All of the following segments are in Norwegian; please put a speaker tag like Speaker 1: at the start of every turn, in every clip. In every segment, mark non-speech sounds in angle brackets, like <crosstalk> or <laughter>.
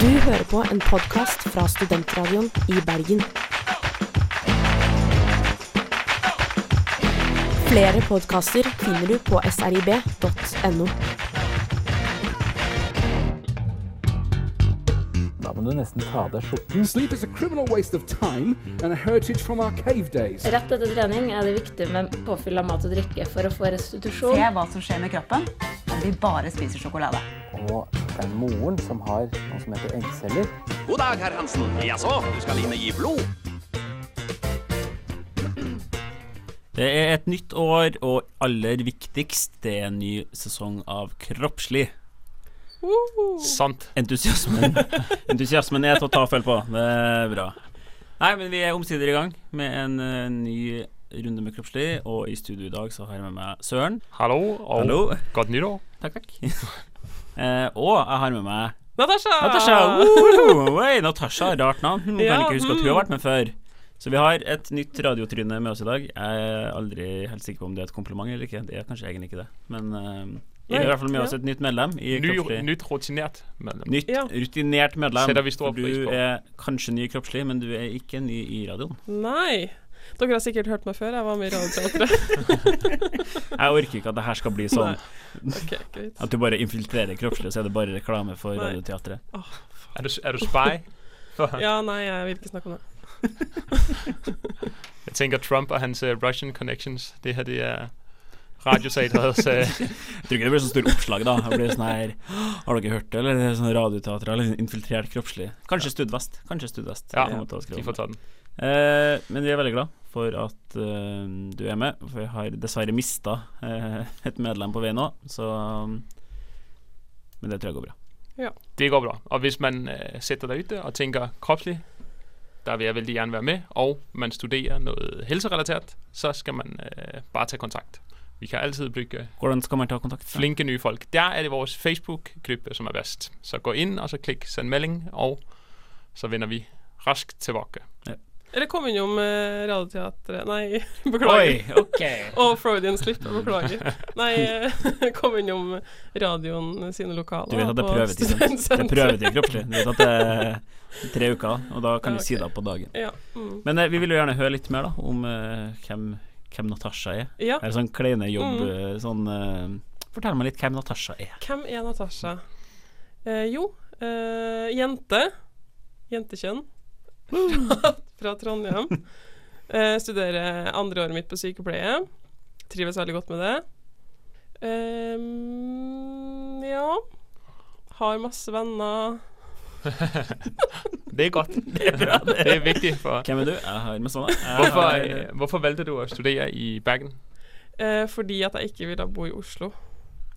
Speaker 1: Du hører på en podkast fra Studentradioen i Bergen. Flere podkaster finner du på srib.no.
Speaker 2: Da må du nesten ta av deg skjorten.
Speaker 3: Sleep is a criminal waste of time and a heritage from our cave days.
Speaker 4: Rett etter trening er det viktig med påfyll av mat og drikke for å få restitusjon.
Speaker 5: Se hva som skjer med kroppen om vi bare spiser sjokolade.
Speaker 2: Og det er moren som har noe som heter eggceller.
Speaker 6: God dag, herr Hansen. Jaså, du skal inn og gi blod?
Speaker 7: Det er et nytt år, og aller viktigst, det er en ny sesong av Kroppslig.
Speaker 8: Sant.
Speaker 7: Entusiasmen, Entusiasmen er til å ta og følge på. Det er bra. Nei, men vi er omsider i gang med en eh, ny runde med Kroppslig, og i studio i dag så har jeg med meg Søren.
Speaker 8: Hallo, og
Speaker 7: Hallo.
Speaker 8: godt nyttår.
Speaker 7: Takk, takk. <laughs> Eh, og jeg har med meg
Speaker 8: Natasha!
Speaker 7: Natasha. Woo! Hey, Natasha, rart navn. Hun
Speaker 8: Ah. Ja,
Speaker 7: kan ikke huske at hun
Speaker 8: mm.
Speaker 7: har vært med før. Så vi har et nytt radiotryne med oss i dag. Jeg er aldri helt sikker på om det er et kompliment eller ikke. Det er kanskje egentlig ikke det. Men eh, vi har i hvert fall med oss et nytt medlem. I
Speaker 8: Ny,
Speaker 7: Kroppslig.
Speaker 8: nytt rutinert medlem.
Speaker 7: Nytt, rutinert medlem.
Speaker 8: Ser jeg vi står
Speaker 7: For
Speaker 8: pris
Speaker 7: du
Speaker 8: på.
Speaker 7: er kanskje ny kroppslig, men du er ikke ny i radioen.
Speaker 9: Nei. Dere har sikkert hørt meg før. Jeg var med i Radioteatret.
Speaker 7: <laughs> Jeg orker ikke at det her skal bli sånn
Speaker 9: Ok, greit.
Speaker 7: at du bare infiltrerer kroppslig, og så er det bare reklame for
Speaker 9: Nei.
Speaker 7: Radioteatret.
Speaker 8: Er du, er du spy?
Speaker 9: Ja, nei, jeg vil ikke snakke om det.
Speaker 8: Jeg tænker Trump og hans eh, Russian connections. Det her, det er
Speaker 7: <laughs>
Speaker 8: radioteaterets uh,
Speaker 7: Jeg tror ikke det blir så stort oppslag, da. Det blir sånn her Har dere hørt det, eller? Det er sånn Radioteatret, eller infiltrert kroppslig. Kanskje Studvest. Kanskje Studvest.
Speaker 8: Ja,
Speaker 7: Det er en måte å skrive
Speaker 8: De
Speaker 7: om
Speaker 8: får
Speaker 7: det.
Speaker 8: ta den.
Speaker 7: Eh, men vi er veldig glad for at eh, du er med. For vi har dessverre mista eh, et medlem på vei nå, så Men det tror jeg går bra.
Speaker 8: Det går bra. Og hvis man eh, sætter dig ute og tænker kropslig, der vil jeg veldig gerne være med, og man studerer noget helserelatert, så skal man eh, bare tage kontakt. Vi kan altid bygge
Speaker 7: Hvordan skal man ta kontakt?
Speaker 8: flinke nye folk. Der er det vores Facebook-gruppe, som er værst. Så gå ind, og så klik send melding, og så vender vi raskt tilbage.
Speaker 9: Eller kom innom eh, Radioteatret Nei, <laughs>
Speaker 7: Oi,
Speaker 9: beklager.
Speaker 7: ok
Speaker 9: Og Freudian slip, jeg
Speaker 7: <laughs>
Speaker 9: beklager. Nei, eh, <laughs> kom innom radioen sine lokaler.
Speaker 7: Du vet at det er
Speaker 9: og
Speaker 7: prøvetid, sant? Det er
Speaker 9: studentsenteret.
Speaker 7: prøvetid kroppslig. Du vet at det er tre uker, og da kan
Speaker 9: Ja,
Speaker 7: du si
Speaker 9: ok.
Speaker 7: det på dagen.
Speaker 9: Ja. Mm.
Speaker 7: Men eh, vi vil jo gjerne høre litt mer da om eh, hvem, hvem Natasha er.
Speaker 9: ja.
Speaker 7: Er det sånn kleine jobb eh, sånn eh, Fortell meg litt hvem Natasha er.
Speaker 9: Hvem er Natasha? Eh, jo, eh, jente. Jentekjønn. <laughs> Fra, fra Trondheim. Eh, studerer andre året mitt på sykepleie. Trives veldig godt med det. Ehm, ja. Har masse venner.
Speaker 8: Det er godt. <laughs> det, er bra, det. er vigtigt for...
Speaker 7: Hvem er du? Jeg har med sånne. Jeg
Speaker 8: Hvorfor,
Speaker 7: har-
Speaker 8: øh, hvorfor valgte du at studere i Bergen?
Speaker 9: Eh, fordi at jeg ikke ville bo i Oslo.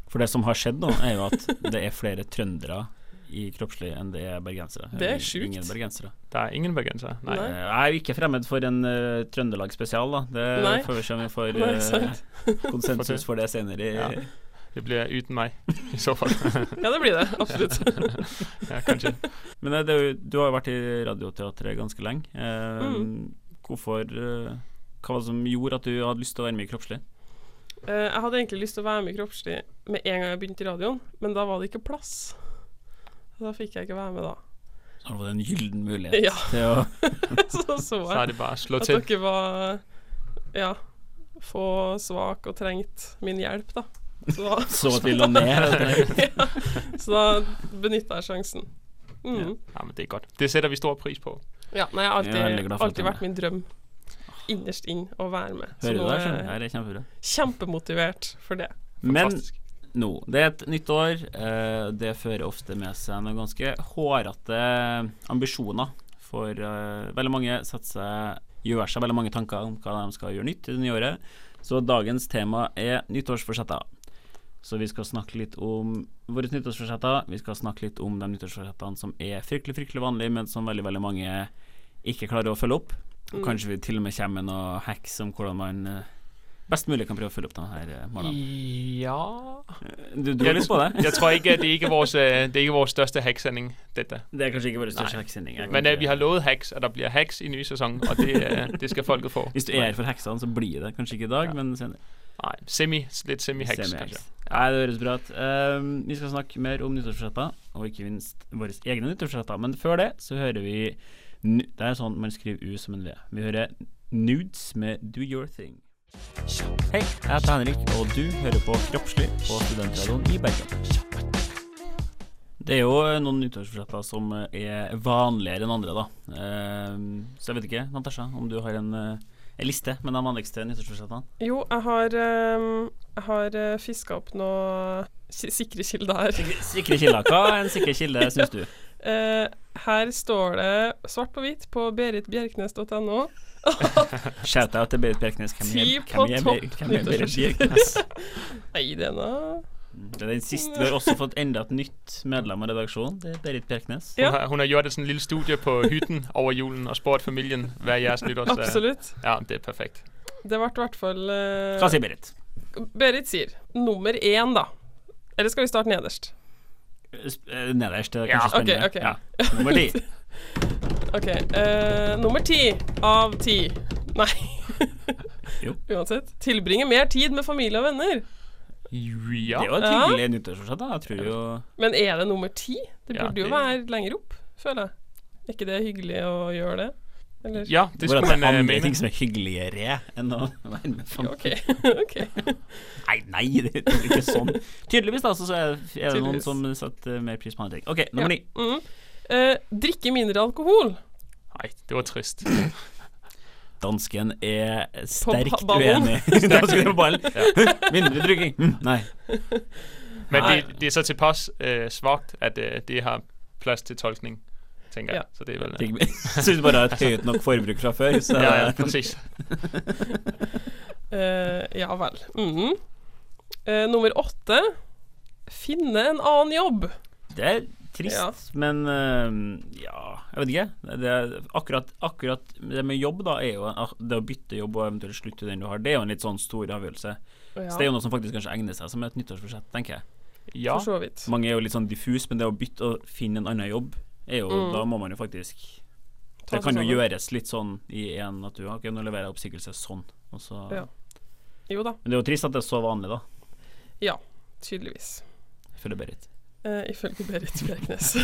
Speaker 7: For det som har skjedd nå, er jo at det er flere trøndere i kroppslig enn det er bergensere.
Speaker 9: Det er
Speaker 7: Eller
Speaker 9: sjukt.
Speaker 7: Ingen bergensere.
Speaker 8: Der er ingen bergenser. Nej.
Speaker 9: Nei.
Speaker 7: Eh, Jeg er jo ikke fremmed for en uh, Trøndelag spesial, da. Det
Speaker 9: Nei.
Speaker 7: får vi se om vi får
Speaker 9: Nei,
Speaker 7: eh,
Speaker 9: sant.
Speaker 7: konsensus for det senere i
Speaker 8: Ja. Det bliver uten mig i så fald. <laughs>
Speaker 9: Ja, det blir det. Absolutt.
Speaker 8: ja, kanskje.
Speaker 7: Men eh, det, er jo- du har jo vært i Radioteatret ganske lenge. Eh,
Speaker 9: Mm.
Speaker 7: Hvorfor eh, Hva var det som gjorde at du hadde lyst til å være med i Kroppslig?
Speaker 9: Eh, jeg hadde egentlig lyst til å være med i Kroppslig med en gang jeg begynte i radioen, men da var det ikke plass. Så da fikk jeg ikke være med da.
Speaker 7: Så var det en gyllen mulighet
Speaker 9: Ja.
Speaker 7: til å
Speaker 9: <laughs> så så
Speaker 8: Så er
Speaker 9: jeg
Speaker 8: det bare at slå
Speaker 9: at
Speaker 8: til.
Speaker 9: dere var ja, for svak og trengt min hjelp, da. Så da, <laughs>
Speaker 7: så til og ned.
Speaker 9: så da benytta jeg sjansen. Mm.
Speaker 8: Ja, men det er godt. Det sætter vi stor pris på.
Speaker 9: Ja, nei, jeg har alltid,
Speaker 7: Jeg er veldig glad for at du
Speaker 9: alltid
Speaker 7: er
Speaker 9: vært min drøm innerst inn å være med. Så
Speaker 7: Hører du
Speaker 9: nå
Speaker 7: det? her,
Speaker 9: er
Speaker 7: skjønner du? Her er kjempebra.
Speaker 9: jeg kjempemotivert for det.
Speaker 7: Men
Speaker 8: Fantastisk.
Speaker 7: nå Det er et nytt år. eh, Det fører ofte med seg noen ganske hårete ambisjoner. For eh, veldig mange setter seg gjør seg veldig mange tanker om hva de skal gjøre nytt i det nye året. Så dagens tema er nyttårsforsetter. Så vi skal snakke litt om våre nyttårsforsetter. Vi skal snakke litt om de nyttårsforsettene som er fryktelig fryktelig vanlige, men som veldig veldig mange ikke klarer å følge opp. Og kanskje vi til og med kommer med noen hacks om hvordan man eh, best mulig kan prøve å følge opp denne her eh, morgenen.
Speaker 8: Ja
Speaker 7: Du, du har lyst på det?
Speaker 8: Jeg tror ikke, at det er ikke vores, øh, det er ikke vores største hacksending, dette.
Speaker 7: Det er kanskje ikke vår største
Speaker 8: Nei.
Speaker 7: hacksending. Jeg kan
Speaker 8: Men
Speaker 7: ikke-
Speaker 8: øh, vi har lovet hacks, og der bliver hacks i nye sæson, og det, øh, det skal folket få.
Speaker 7: Hvis du er her for heksene, så blir det kanskje ikke i dag, men senere.
Speaker 8: Nei, semi, litt
Speaker 7: Semi-heks.
Speaker 8: semi-heks, kanskje.
Speaker 7: Nei, det høres bra ut. Ehm, vi skal snakke mer om nyttårsforsetter, og ikke minst våre egne nyttårsforsetter. Men før det så hører vi nu- Det er sånn man skriver U som en V. Vi hører Nudes med Do Your Thing. Hei, jeg heter Henrik, og du hører på Kroppslig på Studentradioen i Bergen. Det er jo noen nyttårsforsetter som er vanligere enn andre, da. Ehm, så jeg vet ikke, Natasha, om du har en, eh, en liste med de vanligste nyttårsforsettene?
Speaker 9: Jo, jeg har, um, jeg har fiska opp noen si- sikre kilder her.
Speaker 7: <laughs> Sikre kilder. Hva er en sikker kilde, syns du?
Speaker 9: Eh, her står det svart på hvitt på beritbjerknes.no.
Speaker 7: Shout-out til Berit Bjerknes. Hvem
Speaker 9: Ti
Speaker 7: er,
Speaker 9: på
Speaker 7: hvem er,
Speaker 9: topp.
Speaker 7: Berit- hvem er Berit Bjerknes?
Speaker 9: Nei, det er noe
Speaker 7: Det er den siste. Vi har også fått enda et nytt medlem av redaksjonen. Det er Berit Bjerknes.
Speaker 9: Ja.
Speaker 8: Hun, har, hun har gjort et sånt lille studie på hytten over julen og spurt familien hva er deres nyttårs...
Speaker 9: Absolutt.
Speaker 8: Ja, det er perfekt.
Speaker 9: Det ble i hvert fall eh,
Speaker 7: Hva sier Berit?
Speaker 9: Berit sier nummer én, da. Eller skal vi starte nederst?
Speaker 7: Sp- eh, Nederst. Det er
Speaker 8: Ja,
Speaker 7: kanskje
Speaker 9: ok,
Speaker 7: spennende.
Speaker 9: ok.
Speaker 7: Ja. Nummer
Speaker 9: <laughs>
Speaker 7: ti.
Speaker 9: OK. eh, nummer ti av ti.
Speaker 8: <laughs>
Speaker 9: Nei.
Speaker 7: Jo.
Speaker 9: Uansett. Tilbringe mer tid med familie og venner.
Speaker 7: Det
Speaker 8: Ja.
Speaker 7: er jo et
Speaker 9: Ja.
Speaker 7: hyggelig nyttårsforsett. da. Jeg tror jo
Speaker 9: Men er det nummer ti? Det
Speaker 8: Ja,
Speaker 9: burde jo
Speaker 8: det-
Speaker 9: være lenger opp, føler jeg. Er ikke det hyggelig å gjøre det? Eller?
Speaker 8: Ja, det
Speaker 7: det er
Speaker 8: skulle man eh,
Speaker 7: andre
Speaker 8: mene.
Speaker 7: ting som er hyggeligere enn å være med familie.
Speaker 9: OK. <laughs> ok.
Speaker 7: Nei, nei, det er ikke sånn. Tydeligvis, da, så så er er det noen
Speaker 9: Tydeligvis.
Speaker 7: som setter mer pris på andre ting. OK, nummer ni.
Speaker 9: Mm. Eh, drikke mindre alkohol.
Speaker 8: Nei, det var trist.
Speaker 7: Dansken er sterkt
Speaker 9: ballen.
Speaker 7: <laughs> uenig. Dansken på ballen. <laughs> Mindre drukking. Mm, Nei.
Speaker 8: Men
Speaker 9: Nej.
Speaker 8: det, det er så tilpas øh, svagt, at øh, det har plads til tolkning, tænker
Speaker 9: Ja.
Speaker 8: jeg. Så det er vel... øh,
Speaker 7: Tenk- Synes bare <laughs> jeg har et høyt nok forbruk fra før, så
Speaker 8: Ja, ja, præcis.
Speaker 9: Eh, ja vel. Mhm. Eh, nummer åtte finne en annen jobb.
Speaker 7: det er trist.
Speaker 9: Ja.
Speaker 7: Men eh, ja, jeg vet ikke. Det er akkurat, akkurat det med jobb, da, er jo ah, det å bytte jobb og eventuelt slutte i den du har, det er jo en litt sånn stor avgjørelse.
Speaker 9: Ja,
Speaker 7: Så det er jo noe som faktisk kanskje egner seg som et nyttårsbudsjett, tenker jeg.
Speaker 8: Ja,
Speaker 9: For så vidt.
Speaker 7: Mange er jo litt sånn diffus, men det å bytte og finne en annen jobb, er jo,
Speaker 9: Mm.
Speaker 7: da må man jo faktisk
Speaker 9: Ta
Speaker 7: Det kan
Speaker 9: seg
Speaker 7: jo
Speaker 9: sammen.
Speaker 7: gjøres litt sånn i en at du har ikke leverer jeg oppsigelse sånn, og så
Speaker 9: Ja. Jo da.
Speaker 7: Men det er jo trist at det er så vanlig, da,
Speaker 9: Ja. Tydeligvis.
Speaker 7: ifølge Berit.
Speaker 9: Eh, ifølge Berit Bjerknes.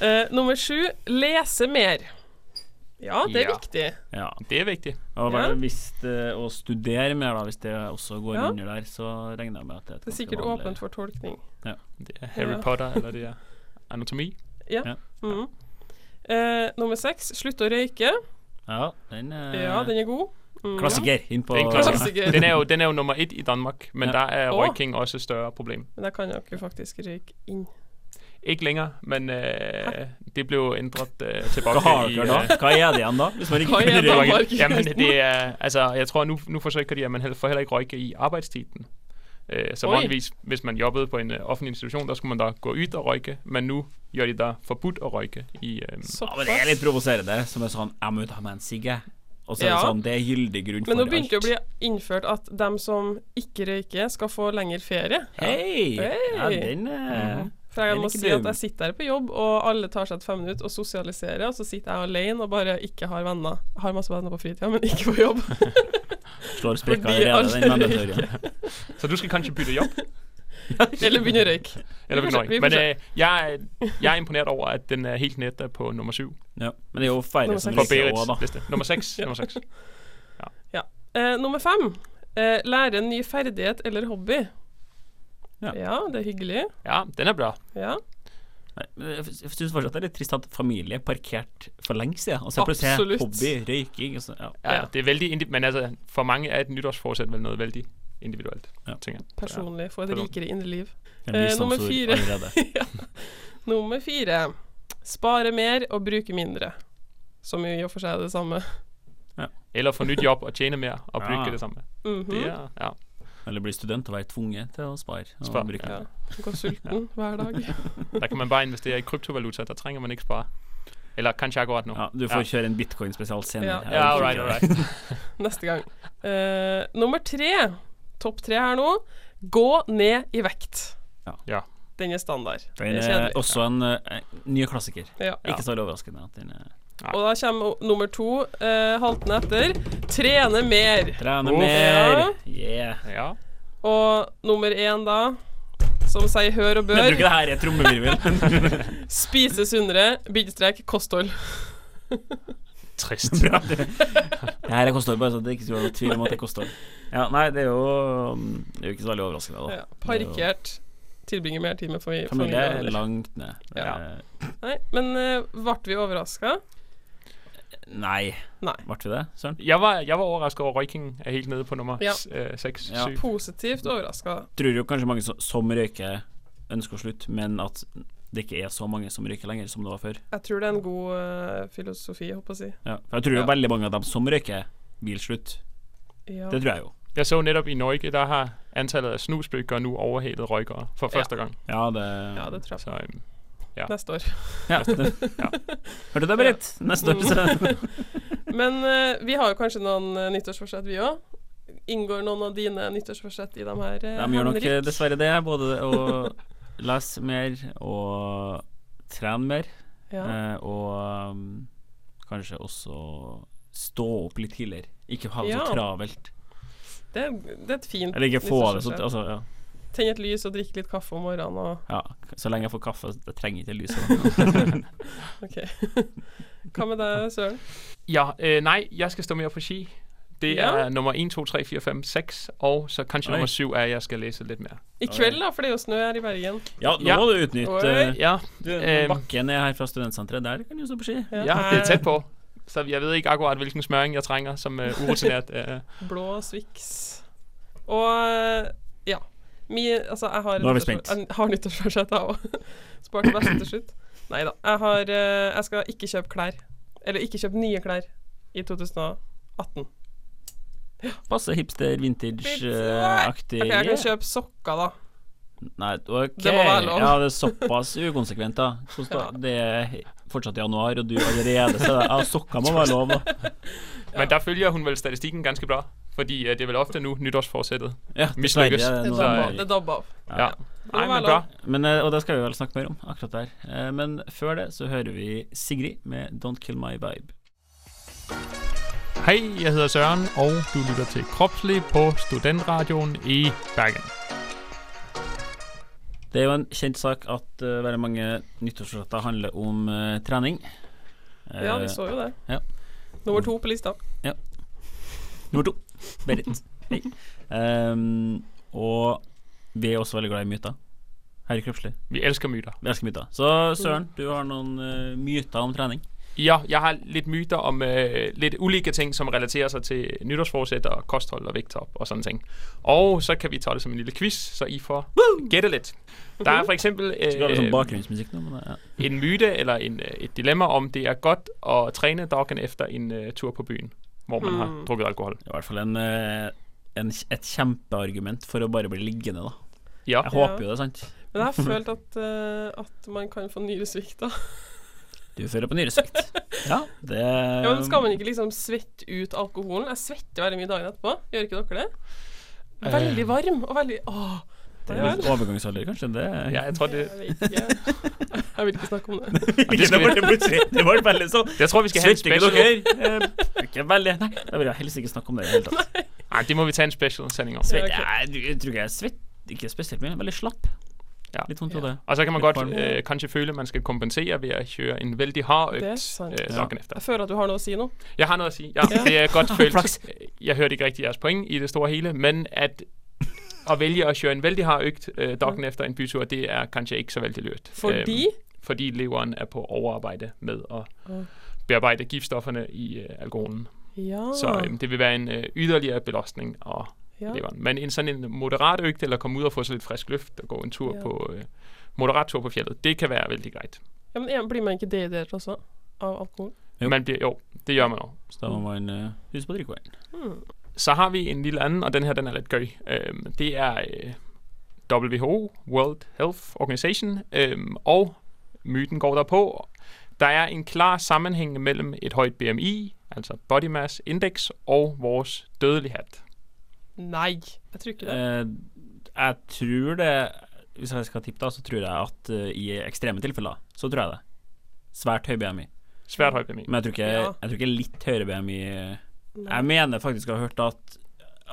Speaker 9: <laughs> eh, nummer sju lese mer. Ja, det er
Speaker 8: Ja.
Speaker 9: viktig.
Speaker 7: Ja.
Speaker 8: det er vigtigt.
Speaker 7: Og
Speaker 9: Ja.
Speaker 7: vel, hvis det, eh, å studere mer, da, hvis det også går
Speaker 9: Ja.
Speaker 7: under der, så regner jeg med at det er et
Speaker 9: Det er
Speaker 7: ganske
Speaker 9: sikkert
Speaker 7: vanlig-
Speaker 9: åpent for tolkning.
Speaker 8: Det er Harry
Speaker 9: Ja.
Speaker 8: Potter, eller det er anatomi.
Speaker 9: Mhm. Eh, nummer seks slutte å røyke.
Speaker 7: Ja, den er
Speaker 9: Ja, den er god. Mhm.
Speaker 7: klassiker. Inn på
Speaker 8: Det er en klassiker.
Speaker 9: Klassiker.
Speaker 8: Den er jo, den er jo nummer et i Danmark, men
Speaker 7: Ja.
Speaker 8: der er
Speaker 9: Åh.
Speaker 8: røyking også et større problem.
Speaker 9: Men der kan dere faktisk røyke inn.
Speaker 8: Ikke længere, men øh, det blev ændret øh,
Speaker 7: Hva har
Speaker 8: tilbage i...
Speaker 7: dere
Speaker 8: <laughs>
Speaker 7: da? Hva er det igjen da? Hvis man ikke
Speaker 9: Hva er
Speaker 7: kunne
Speaker 9: det?
Speaker 7: røyke?
Speaker 9: Danmark.
Speaker 8: Jamen, det er, altså, jeg tror, nu, nu forsøger de, at man heller, får heller ikke røyke i arbejdstiden. Øh, Så
Speaker 9: Oj.
Speaker 8: vanligvis, hvis man jobbede på en øh, offentlig institution, der skulle man da gå ud og røyke, men nu gør de der forbudt at røyke i... øh, øhm,
Speaker 7: Ja, men det er litt provoserende, som er sånn Jeg må ut og ha meg en sigge. Og så er det
Speaker 9: Ja.
Speaker 7: sånn Det er gyldig grunn for
Speaker 9: Men
Speaker 7: alt.
Speaker 9: nå begynte det å bli innført at dem som ikke røyker, skal få lengre ferie.
Speaker 7: Hei! Ja,
Speaker 9: Hei. Mhm.
Speaker 7: den eh,
Speaker 9: For jeg
Speaker 7: Den er
Speaker 9: må
Speaker 7: ikke
Speaker 9: si at
Speaker 7: dum.
Speaker 9: jeg sitter her på jobb, og alle tar seg et fem minutter og sosialiserer, og så sitter jeg alene og bare ikke har venner. Jeg har masse venner på fritida, men ikke på jobb.
Speaker 7: slår sprekker
Speaker 9: Fordi
Speaker 7: allerede, den
Speaker 9: alle
Speaker 7: mandatorien.
Speaker 8: Så du skal kanskje bytte jobb?
Speaker 9: Eller begynne å røyke.
Speaker 8: Eller
Speaker 9: <laughs> Vi får
Speaker 8: begynde
Speaker 9: se, vi
Speaker 8: røyke.
Speaker 9: får
Speaker 8: Men øh, jeg, er- jeg er imponeret over, at den er helt nette på nummer syv.
Speaker 7: Ja. Men det er jo færre
Speaker 9: Nummer
Speaker 7: som
Speaker 8: På
Speaker 9: seks.
Speaker 7: røyker
Speaker 8: Berits
Speaker 7: også, da.
Speaker 8: liste. Nummer
Speaker 9: <laughs>
Speaker 8: seks. Nummer seks.
Speaker 9: Eh, nummer fem. Eh, lære en ny ferdighet eller hobby.
Speaker 7: Ja.
Speaker 9: Ja, det er hyggelig.
Speaker 8: Ja, den er bra.
Speaker 9: Ja.
Speaker 7: Nei, men Jeg f- jeg synes fortsatt det er litt trist at familie er parkert for lenge siden. Og så plutselig er
Speaker 9: Absolutt.
Speaker 7: det hobby, røyking og så, ja.
Speaker 8: Ja,
Speaker 9: Ja.
Speaker 8: Det er veldig indi- men altså, for mange er et nytårsforsæt vel noget veldig individuelt,
Speaker 7: Ja.
Speaker 8: tænker jeg. Så, ja.
Speaker 9: Personlig. Få et
Speaker 8: Pardon.
Speaker 9: rikere indre <laughs> liv.
Speaker 7: Det er
Speaker 9: Eh, nummer
Speaker 7: visdomsord
Speaker 9: fire.
Speaker 7: allerede.
Speaker 9: Nummer fire. Spare mer og bruke mindre. Som jo i og for seg er det samme.
Speaker 8: Eller få nyt job og tjene mere og bruke
Speaker 7: Ah.
Speaker 8: det samme.
Speaker 9: Mhm.
Speaker 8: Det er, ja.
Speaker 7: Eller bli student og være tvunget til å spare. Og
Speaker 8: Spare,
Speaker 7: bruke.
Speaker 9: Ja. Gå sulten hver dag.
Speaker 8: Der kan man bare investere i kryptovaluta, der trænger man ikke spare. Eller kanskje akkurat nå.
Speaker 7: Ja, du får kjøre en bitcoin-spesial senere.
Speaker 9: Ja.
Speaker 8: Ja, all right, all right.
Speaker 9: Neste gang. Eh, nummer tre. Topp tre her nå. Gå ned i vekt.
Speaker 7: Ja.
Speaker 8: Ja.
Speaker 9: Den er standard.
Speaker 7: Den
Speaker 9: Det er
Speaker 7: er
Speaker 9: kjedelig.
Speaker 7: også en eh, ny klassiker.
Speaker 9: Ja.
Speaker 7: Ikke så veldig overraskende at den eh, er
Speaker 8: Nei.
Speaker 9: Og da kommer o- nummer to eh, haltende etter. Trene mer.
Speaker 7: Trene
Speaker 8: Uff.
Speaker 7: mer. Yeah.
Speaker 8: Ja.
Speaker 9: Og nummer én da, som sier hør og
Speaker 7: Jeg tror
Speaker 9: bør,
Speaker 7: ikke det her er trommevirvel. <laughs>
Speaker 9: spise sunnere, bindestrek, kosthold.
Speaker 8: Trist. <laughs>
Speaker 7: Bra. Det her er kosthold, bare så det ikke skal være noe tvil om at det er kosthold. Ja, nei, det er jo mm, Det er jo ikke så veldig overraskende, da.
Speaker 9: Ja, parkert. Tilbringe mer tid med fami-
Speaker 7: Familie er
Speaker 9: familie.
Speaker 7: langt ned. Det
Speaker 9: Ja.
Speaker 7: er-
Speaker 9: Nei, men eh, ble vi overraska?
Speaker 7: Nei.
Speaker 9: Nei.
Speaker 7: Ble vi det, Søren?
Speaker 8: Jeg var, jeg var overrasket over, at røyking er helt nede på nummer
Speaker 9: Ja.
Speaker 8: s- øh, seks.
Speaker 7: Ja.
Speaker 8: syv.
Speaker 9: Positivt overraska.
Speaker 7: Tror jo kanskje mange som, som røyker, ønsker å slutte, men at det ikke er så mange som røyker lenger som det var før.
Speaker 9: Jeg tror det er en god eh, filosofi, holdt på å si.
Speaker 7: Ja. For jeg tror jo
Speaker 9: Ja.
Speaker 7: veldig mange av dem som røyker, vil slutte.
Speaker 9: Ja.
Speaker 7: Det tror jeg jo.
Speaker 8: Jeg så netop i Norge, der har antallet af snusbøger nu overhalet røykere for første gang.
Speaker 7: Ja, det,
Speaker 9: ja, det tror jeg.
Speaker 8: Så øhm,
Speaker 9: Neste år. <laughs>
Speaker 7: Ja, det, ja. Hørte du det, Britt? Neste
Speaker 9: <laughs>
Speaker 7: episode.
Speaker 9: Men eh, vi har jo kanskje noen eh, nyttårsforsett, vi òg. Inngår noen av dine nyttårsforsett i de her? eh,
Speaker 7: De gjør nok
Speaker 9: Henrik?
Speaker 7: eh, dessverre det. Både å lese mer og trene mer.
Speaker 9: Ja.
Speaker 7: eh, Og um, kanskje også stå opp litt tidligere. Ikke ha det
Speaker 9: Ja.
Speaker 7: så travelt.
Speaker 9: Det, er- det er et fint
Speaker 7: Eller ikke få det så
Speaker 9: nyttårsforsett.
Speaker 7: altså, ja.
Speaker 9: Tenn et lys og drikke litt kaffe om morgenen og
Speaker 7: ja. Så lenge jeg får kaffe, så jeg trenger ikke lyset.
Speaker 9: OK. <laughs> Hva med deg, Søren?
Speaker 8: ja, øh, nej, jeg skal stå mere på ski. Det
Speaker 9: Ja.
Speaker 8: er nummer 1, 2, 3, 4, 5, 6, og så kanskje
Speaker 7: Oi.
Speaker 8: nummer 7 er, at jeg skal læse lidt mere.
Speaker 9: I kveld, da, for det er jo snø her i Bergen.
Speaker 7: <laughs> Ja, nå
Speaker 8: Ja.
Speaker 7: må du utnytte eh,
Speaker 8: Ja,
Speaker 7: du,
Speaker 8: eh,
Speaker 7: bakken er her fra studentsenteret. Der kan du stå på ski.
Speaker 9: Ja.
Speaker 8: ja, det er tæt på. Så jeg ved ikke akkurat, hvilken smøring jeg trænger som øh,
Speaker 9: <laughs>
Speaker 8: urutinert. øh.
Speaker 9: Blå Swix. Og eh, ja. Mi, altså, jeg har,
Speaker 7: Nå er vi
Speaker 9: nyttårsfor-
Speaker 7: spent.
Speaker 9: Jeg har nyttårsforsett, jeg òg. <laughs> Sparte beste til slutt. Nei da. Jeg, har, eh, jeg skal ikke kjøpe klær. Eller ikke kjøpe nye klær i 2018.
Speaker 7: Passe hipster, eh,
Speaker 9: <laughs>
Speaker 7: vintage-aktig.
Speaker 9: Ok, jeg kan kjøpe sokker, da.
Speaker 7: Nei, ok.
Speaker 9: Det må være lov.
Speaker 7: Ja, det er såpass ukonsekvent, da. Hvordan da? Det er fortsatt januar, og du allerede så ja, sokker må være lov. Da.
Speaker 8: Men der følger hun vel statistikken ganske bra, fordi øh, det er vel ofte nu nytårsforsættet.
Speaker 7: <laughs> Ja,
Speaker 8: Mislykkes.
Speaker 7: dessverre, det er
Speaker 9: Det
Speaker 7: noe
Speaker 8: Så-
Speaker 9: dabba,
Speaker 7: der.
Speaker 9: det dabba av.
Speaker 8: Ja.
Speaker 9: må
Speaker 8: Nej,
Speaker 9: være
Speaker 8: men
Speaker 9: lov.
Speaker 8: bra.
Speaker 7: Men, eh, og det skal vi vel snakke mer om akkurat der. Eh, Men før det så hører vi Sigrid med 'Don't Kill My Vibe'.
Speaker 8: Hej, jeg hedder Søren, og du lytter til Kropslig på Studentradioen i Bergen.
Speaker 7: Det er jo en kjent sak at eh, veldig mange nyttårsforsetter handler om eh, trening. Eh,
Speaker 9: Ja, vi så jo det.
Speaker 7: ja.
Speaker 9: Nummer to på lista.
Speaker 7: Nummer to. Berit. Hei. Ehm, og vi er også veldig glad i myter. Her i Kroppslig.
Speaker 8: Vi elsker myter.
Speaker 7: Vi elsker myter. Så Søren, du har noen eh, myter om trening.
Speaker 8: Ja, jeg har lidt myter om øh, lidt ulike ting, som relaterer sig til nytårsforsæt og kosthold og vægttab og sådan ting. Og så kan vi tage det som en lille quiz, så I får gætte lidt. Der er for eksempel
Speaker 7: Du har det som
Speaker 8: øh,
Speaker 7: bakgrunnsmusikk nå, men det- ja.
Speaker 8: en myte eller en, øh, et dilemma om, det er godt at træne dagen efter en øh, tur på byen, hvor man har
Speaker 7: Hmm.
Speaker 8: drukket alkohol.
Speaker 7: Det er i hvert fall en, eh, en, et kjempeargument for å bare bli liggende, da.
Speaker 8: Ja,
Speaker 7: Jeg håper jo det er sant.
Speaker 9: Men jeg har følt at, eh, at man kan få nyresvikt, da.
Speaker 7: Du fører på nyresvikt. Ja, det
Speaker 9: Ja,
Speaker 7: Um,
Speaker 9: men skal man ikke liksom svette ut alkoholen? Jeg svetter veldig mye dagen etterpå. Gjør ikke dere det?
Speaker 7: Eh.
Speaker 9: Veldig varm og veldig Åh!
Speaker 7: Det er litt overgangsalder, kanskje. Det,
Speaker 8: ja, jeg tror det,
Speaker 9: Jeg vet ikke. Jeg vil ikke snakke om det.
Speaker 8: det skal vi-
Speaker 7: det var veldig sånn
Speaker 8: jeg tror, vi skal have en
Speaker 7: Svetter ikke
Speaker 8: special.
Speaker 7: dere? <laughs> Eh, Ikke veldig. Nei, jeg vil helst ikke snakke om det i det hele tatt.
Speaker 8: Nej, det må vi tage en special sending om.
Speaker 9: Svett.
Speaker 7: Svett, jeg, jeg tror ikke jeg er svett. Ikke spesielt mye. Veldig slapp.
Speaker 8: Ja.
Speaker 7: Litt vondt i hodet.
Speaker 8: Og så kan man
Speaker 7: Lidt
Speaker 8: godt
Speaker 7: varm.
Speaker 8: øh, kanskje føle, at man skal kompensere ved at køre en vældig hård økt
Speaker 9: Det er sandt.
Speaker 8: øh, dagen efter.
Speaker 9: Jeg føler at du har noe å si nå.
Speaker 8: Jeg har noget at sige. Ja, det er
Speaker 9: <laughs>
Speaker 8: godt følt. Øh, Jeg hørte ikke rigtig jeres point i det store hele, men at at vælge at køre en vældig hård økt øh, dagen efter en bytur, det er kanskje ikke så vældig lurt.
Speaker 9: Fordi
Speaker 8: Øhm,
Speaker 7: Eh,
Speaker 8: fordi leveren er på overarbejde med at bearbejde giftstofferne i øh, alkoholen.
Speaker 9: Ja.
Speaker 8: Så øhm, det vil være en øh, yderligere belastning af
Speaker 9: ja.
Speaker 8: leveren. Men en sådan en moderat økt, eller komme ud og få sig lidt frisk luft og gå en tur
Speaker 9: Ja.
Speaker 8: på, øh, moderat tur på fjellet, det kan være vældig greit.
Speaker 9: ja men blir man ikke dehydrert også av alkohol?
Speaker 7: Jo.
Speaker 8: Man bliver, jo, det gør man også.
Speaker 7: Så da må man eh, huske på å drikke vann.
Speaker 8: Så har vi en lille anden, og den her, den er lidt gøy. Øhm, det er øh, WHO, World Health Organization, øhm, og myten går derpå. Der er en klar sammenhæng mellem et højt BMI, altså Body Mass Index, og vores dødelighed.
Speaker 9: Nei, jeg tror ikke det.
Speaker 7: Eh, Jeg tror det Hvis jeg skal tippe, da, så tror jeg at eh, i ekstreme tilfeller, så tror jeg det. Svært høy BMI.
Speaker 8: Svært høj BMI.
Speaker 7: Men jeg tror ikke,
Speaker 9: Ja.
Speaker 7: jeg tror ikke litt høyere BMI eh, Jeg mener faktisk å ha hørt at,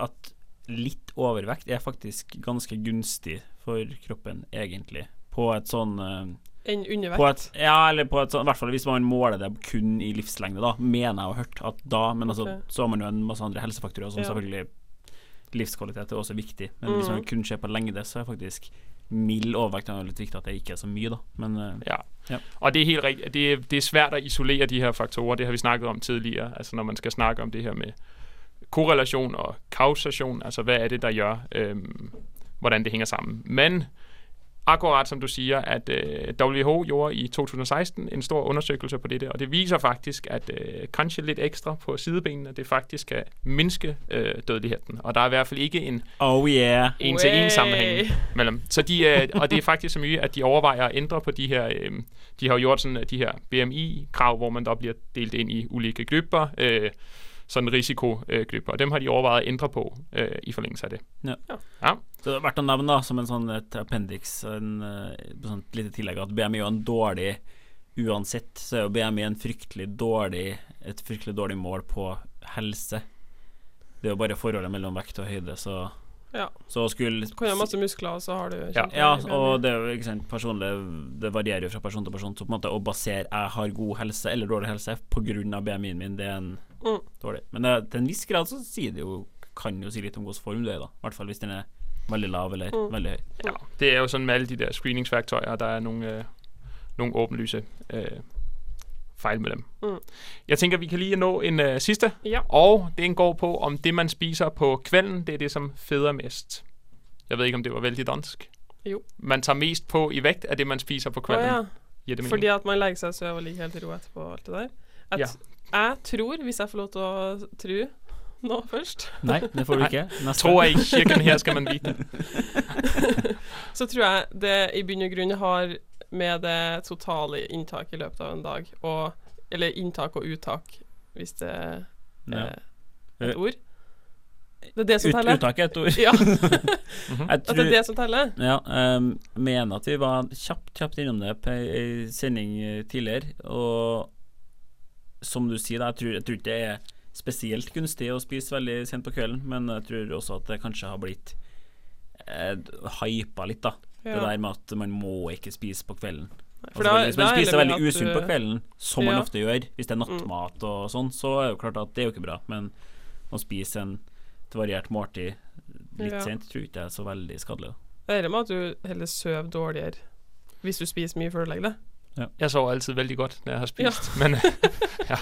Speaker 7: at litt overvekt er faktisk ganske gunstig for kroppen, egentlig. På et sånn eh,
Speaker 9: Enn
Speaker 7: på
Speaker 9: undervekt.
Speaker 7: et, Ja, eller på et sånn I hvert fall hvis man måler det kun i livslengde, da, mener jeg å ha hørt at da Men altså,
Speaker 9: Ok.
Speaker 7: så har man jo en masse andre helsefaktorer, som
Speaker 9: Ja. Mm.
Speaker 7: selvfølgelig Livskvalitet er også viktig, men hvis man kun ser på lengde, så er faktisk mild overvekt Det er jo litt viktig at det ikke er så mye, da, men eh,
Speaker 8: Ja.
Speaker 7: Ja.
Speaker 8: Og det er, helt rigtigt. Det, er- det er svært at isolere de her faktorer. Det har vi snakket om tidligere. Altså når man skal snakke om det her med korrelation og kausation. Altså hvad er det, der gør, øhm, hvordan det hænger sammen. Men akkurat som du siger, at øh, WHO gjorde i 2016 en stor undersøgelse på dette, og det viser faktisk, at øh, kanskje lidt ekstra på sidebenene, det faktisk kan mindske øh, dødeligheden. Og der er i hvert fald ikke en
Speaker 7: Oh yeah!
Speaker 8: en til
Speaker 9: Way.
Speaker 8: en sammenhæng mellem. Så de, øh, og det er faktisk så mye, at de overvejer at ændre på de her, øh, de har jo gjort sådan, øh, de her BMI-krav, hvor man der bliver delt ind i ulike grupper, øh, sådan risikogrupper, og dem har de overvejet at ændre på øh, i forlængelse af det.
Speaker 7: Så det er verdt å nevne da, som en sånn et appendix, en, eh, sånn et lite tillegg, at BMI er jo en dårlig Uansett så er jo BMI en fryktelig dårlig, et fryktelig dårlig mål på helse. Det er jo bare forholdet mellom vekt og høyde, så
Speaker 9: Ja.
Speaker 7: Så skulle
Speaker 9: Du kan jo ha masse muskler, og så har du kjempe-
Speaker 7: ja, og det er jo ikke sant, personlig Det varierer jo fra person til person, så på en måte å basere jeg har god helse eller dårlig helse pga. BMI-en min, det er en
Speaker 9: Mm.
Speaker 7: dårlig Men det, til en viss grad så sier det jo kan jo si litt om hvilken form du er i, da. I hvert fall hvis den er veldig lav eller
Speaker 9: Mm.
Speaker 7: veldig høy.
Speaker 8: Ja, det er jo sådan med alle de der screeningsværktøjer, der er nogle, øh, nogle åbenlyse øh, fejl med dem.
Speaker 9: Mm.
Speaker 8: Jeg tænker, vi kan lige nå en øh, sidste,
Speaker 9: Ja.
Speaker 8: og den går på, om det, man spiser på kvelden, det er det, som feder mest. Jeg ved ikke, om det var vældig dansk.
Speaker 9: Jo.
Speaker 8: Man tager mest på i vægt af det, man spiser på
Speaker 9: Å
Speaker 8: kvelden.
Speaker 9: ja.
Speaker 8: Giver det mening?
Speaker 9: Fordi at man legger seg og sover og ligger helt i ro etterpå og alt det der. At
Speaker 8: Ja.
Speaker 9: Jeg tror, hvis jeg får lov til å tro nå først,
Speaker 7: Nei, det får du ikke.
Speaker 8: Tror jeg i kirken her skal man vite.
Speaker 9: så tror jeg det i bunn og grunn har med det totale inntaket i løpet av en dag og Eller inntak og uttak, hvis det er
Speaker 7: Ja. Eh,
Speaker 9: et ord. Det er det som
Speaker 7: Ut,
Speaker 9: teller.
Speaker 7: uttak er et ord.
Speaker 9: <laughs> Ja, at
Speaker 7: Jeg
Speaker 9: det
Speaker 7: tror <laughs>
Speaker 9: er det som teller.
Speaker 7: Ja, ehm, mener at vi var kjapt, kjapt innom det på ei ei sending eh, tidligere, og som du sier, da, jeg tror, jeg tror ikke det er spesielt gunstig å spise veldig sent på kvelden, men jeg tror også at det kanskje har blitt eh, hypa litt, da. Det
Speaker 9: Ja.
Speaker 7: der med at man må ikke spise på kvelden.
Speaker 9: For
Speaker 7: Altså,
Speaker 9: da-
Speaker 7: hvis
Speaker 9: da
Speaker 7: man
Speaker 9: er det
Speaker 7: spiser
Speaker 9: vel
Speaker 7: veldig
Speaker 9: at
Speaker 7: usunt
Speaker 9: du-
Speaker 7: på kvelden, som man
Speaker 9: Ja. Mm.
Speaker 7: ofte gjør, hvis det er nattmat og sånn, så er det jo klart at det er jo ikke bra, men å spise en et variert måltid litt
Speaker 9: Ja.
Speaker 7: sent tror jeg ikke det er så veldig skadelig. da.
Speaker 9: Det er det med at du heller sover dårligere hvis du spiser mye før du legger deg.
Speaker 8: Jeg sover altid vældig godt, når jeg har spist. Men, <laughs> ja.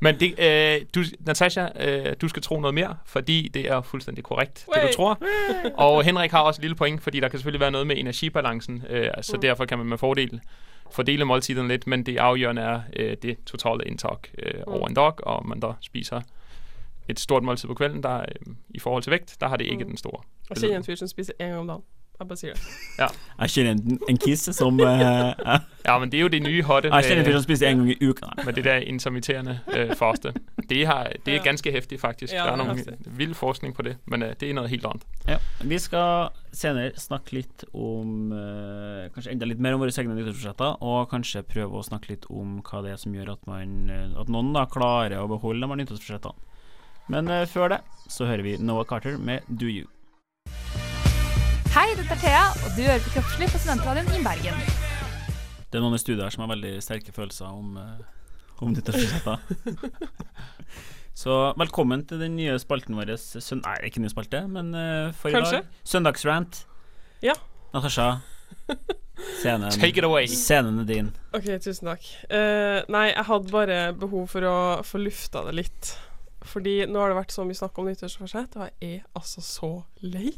Speaker 8: Men det, øh, du, Natasha, øh, du skal tro noget mere, fordi det er fuldstændig korrekt, det
Speaker 9: Wey.
Speaker 8: du tror. Og Henrik har også et lille point, fordi der kan selvfølgelig være noget med energibalancen, øh,
Speaker 9: Mm.
Speaker 8: så derfor kan man med fordel fordele måltiderne lidt, men det afgørende er øh, det totale indtag øh,
Speaker 9: Mm.
Speaker 8: over en dag, og om man der spiser et stort måltid på kvelden, der øh, i forhold til vægt, der har det ikke
Speaker 9: Mm.
Speaker 8: den store.
Speaker 9: Jeg kjenner en fyr som spiser én gang om dagen. Jeg bare sier det.
Speaker 7: Jeg kjenner en, en kiss som eh, jeg-
Speaker 8: Ja, men det er jo det nye hotte.
Speaker 7: Jeg kjenner en
Speaker 8: med-
Speaker 7: fyr som spiser en gang i uka. Nei.
Speaker 8: med det der intermitterende øh, faste. Det, har, det er ganske hæftigt faktisk.
Speaker 9: Ja,
Speaker 8: der er
Speaker 9: det er
Speaker 8: nogle
Speaker 9: heftigt.
Speaker 8: vild forskning på det, men øh, det er noget helt andet.
Speaker 7: Ja. Vi skal senere snakke litt om eh, Kanskje enda litt mer om våre egne nyttårsforsetter, og kanskje prøve å snakke litt om hva det er som gjør at, man, eh, at noen da klarer å beholde de her nyttårsforsettene. Men eh, før det så hører vi Noah Carter med Do You.
Speaker 10: Hei, dette er Thea, og du hører på Kroppslig på Studentradioen i Bergen.
Speaker 7: Det er noen i studiet her som har veldig sterke følelser om, eh, om nyttårsforsetter.
Speaker 8: <laughs>
Speaker 7: Så velkommen til den nye spalten vår søn Nei, ikke ny spalte, men eh, for i
Speaker 9: Kanskje.
Speaker 7: dag. Søndagsrant.
Speaker 9: Ja.
Speaker 7: Natasha, scenen,
Speaker 8: Take it away.
Speaker 7: scenen er din.
Speaker 9: OK, tusen takk. Eh, nei, jeg hadde bare behov for å få lufta det litt. Fordi nå har det vært så mye snakk om nyttårsforsett, og jeg er altså så lei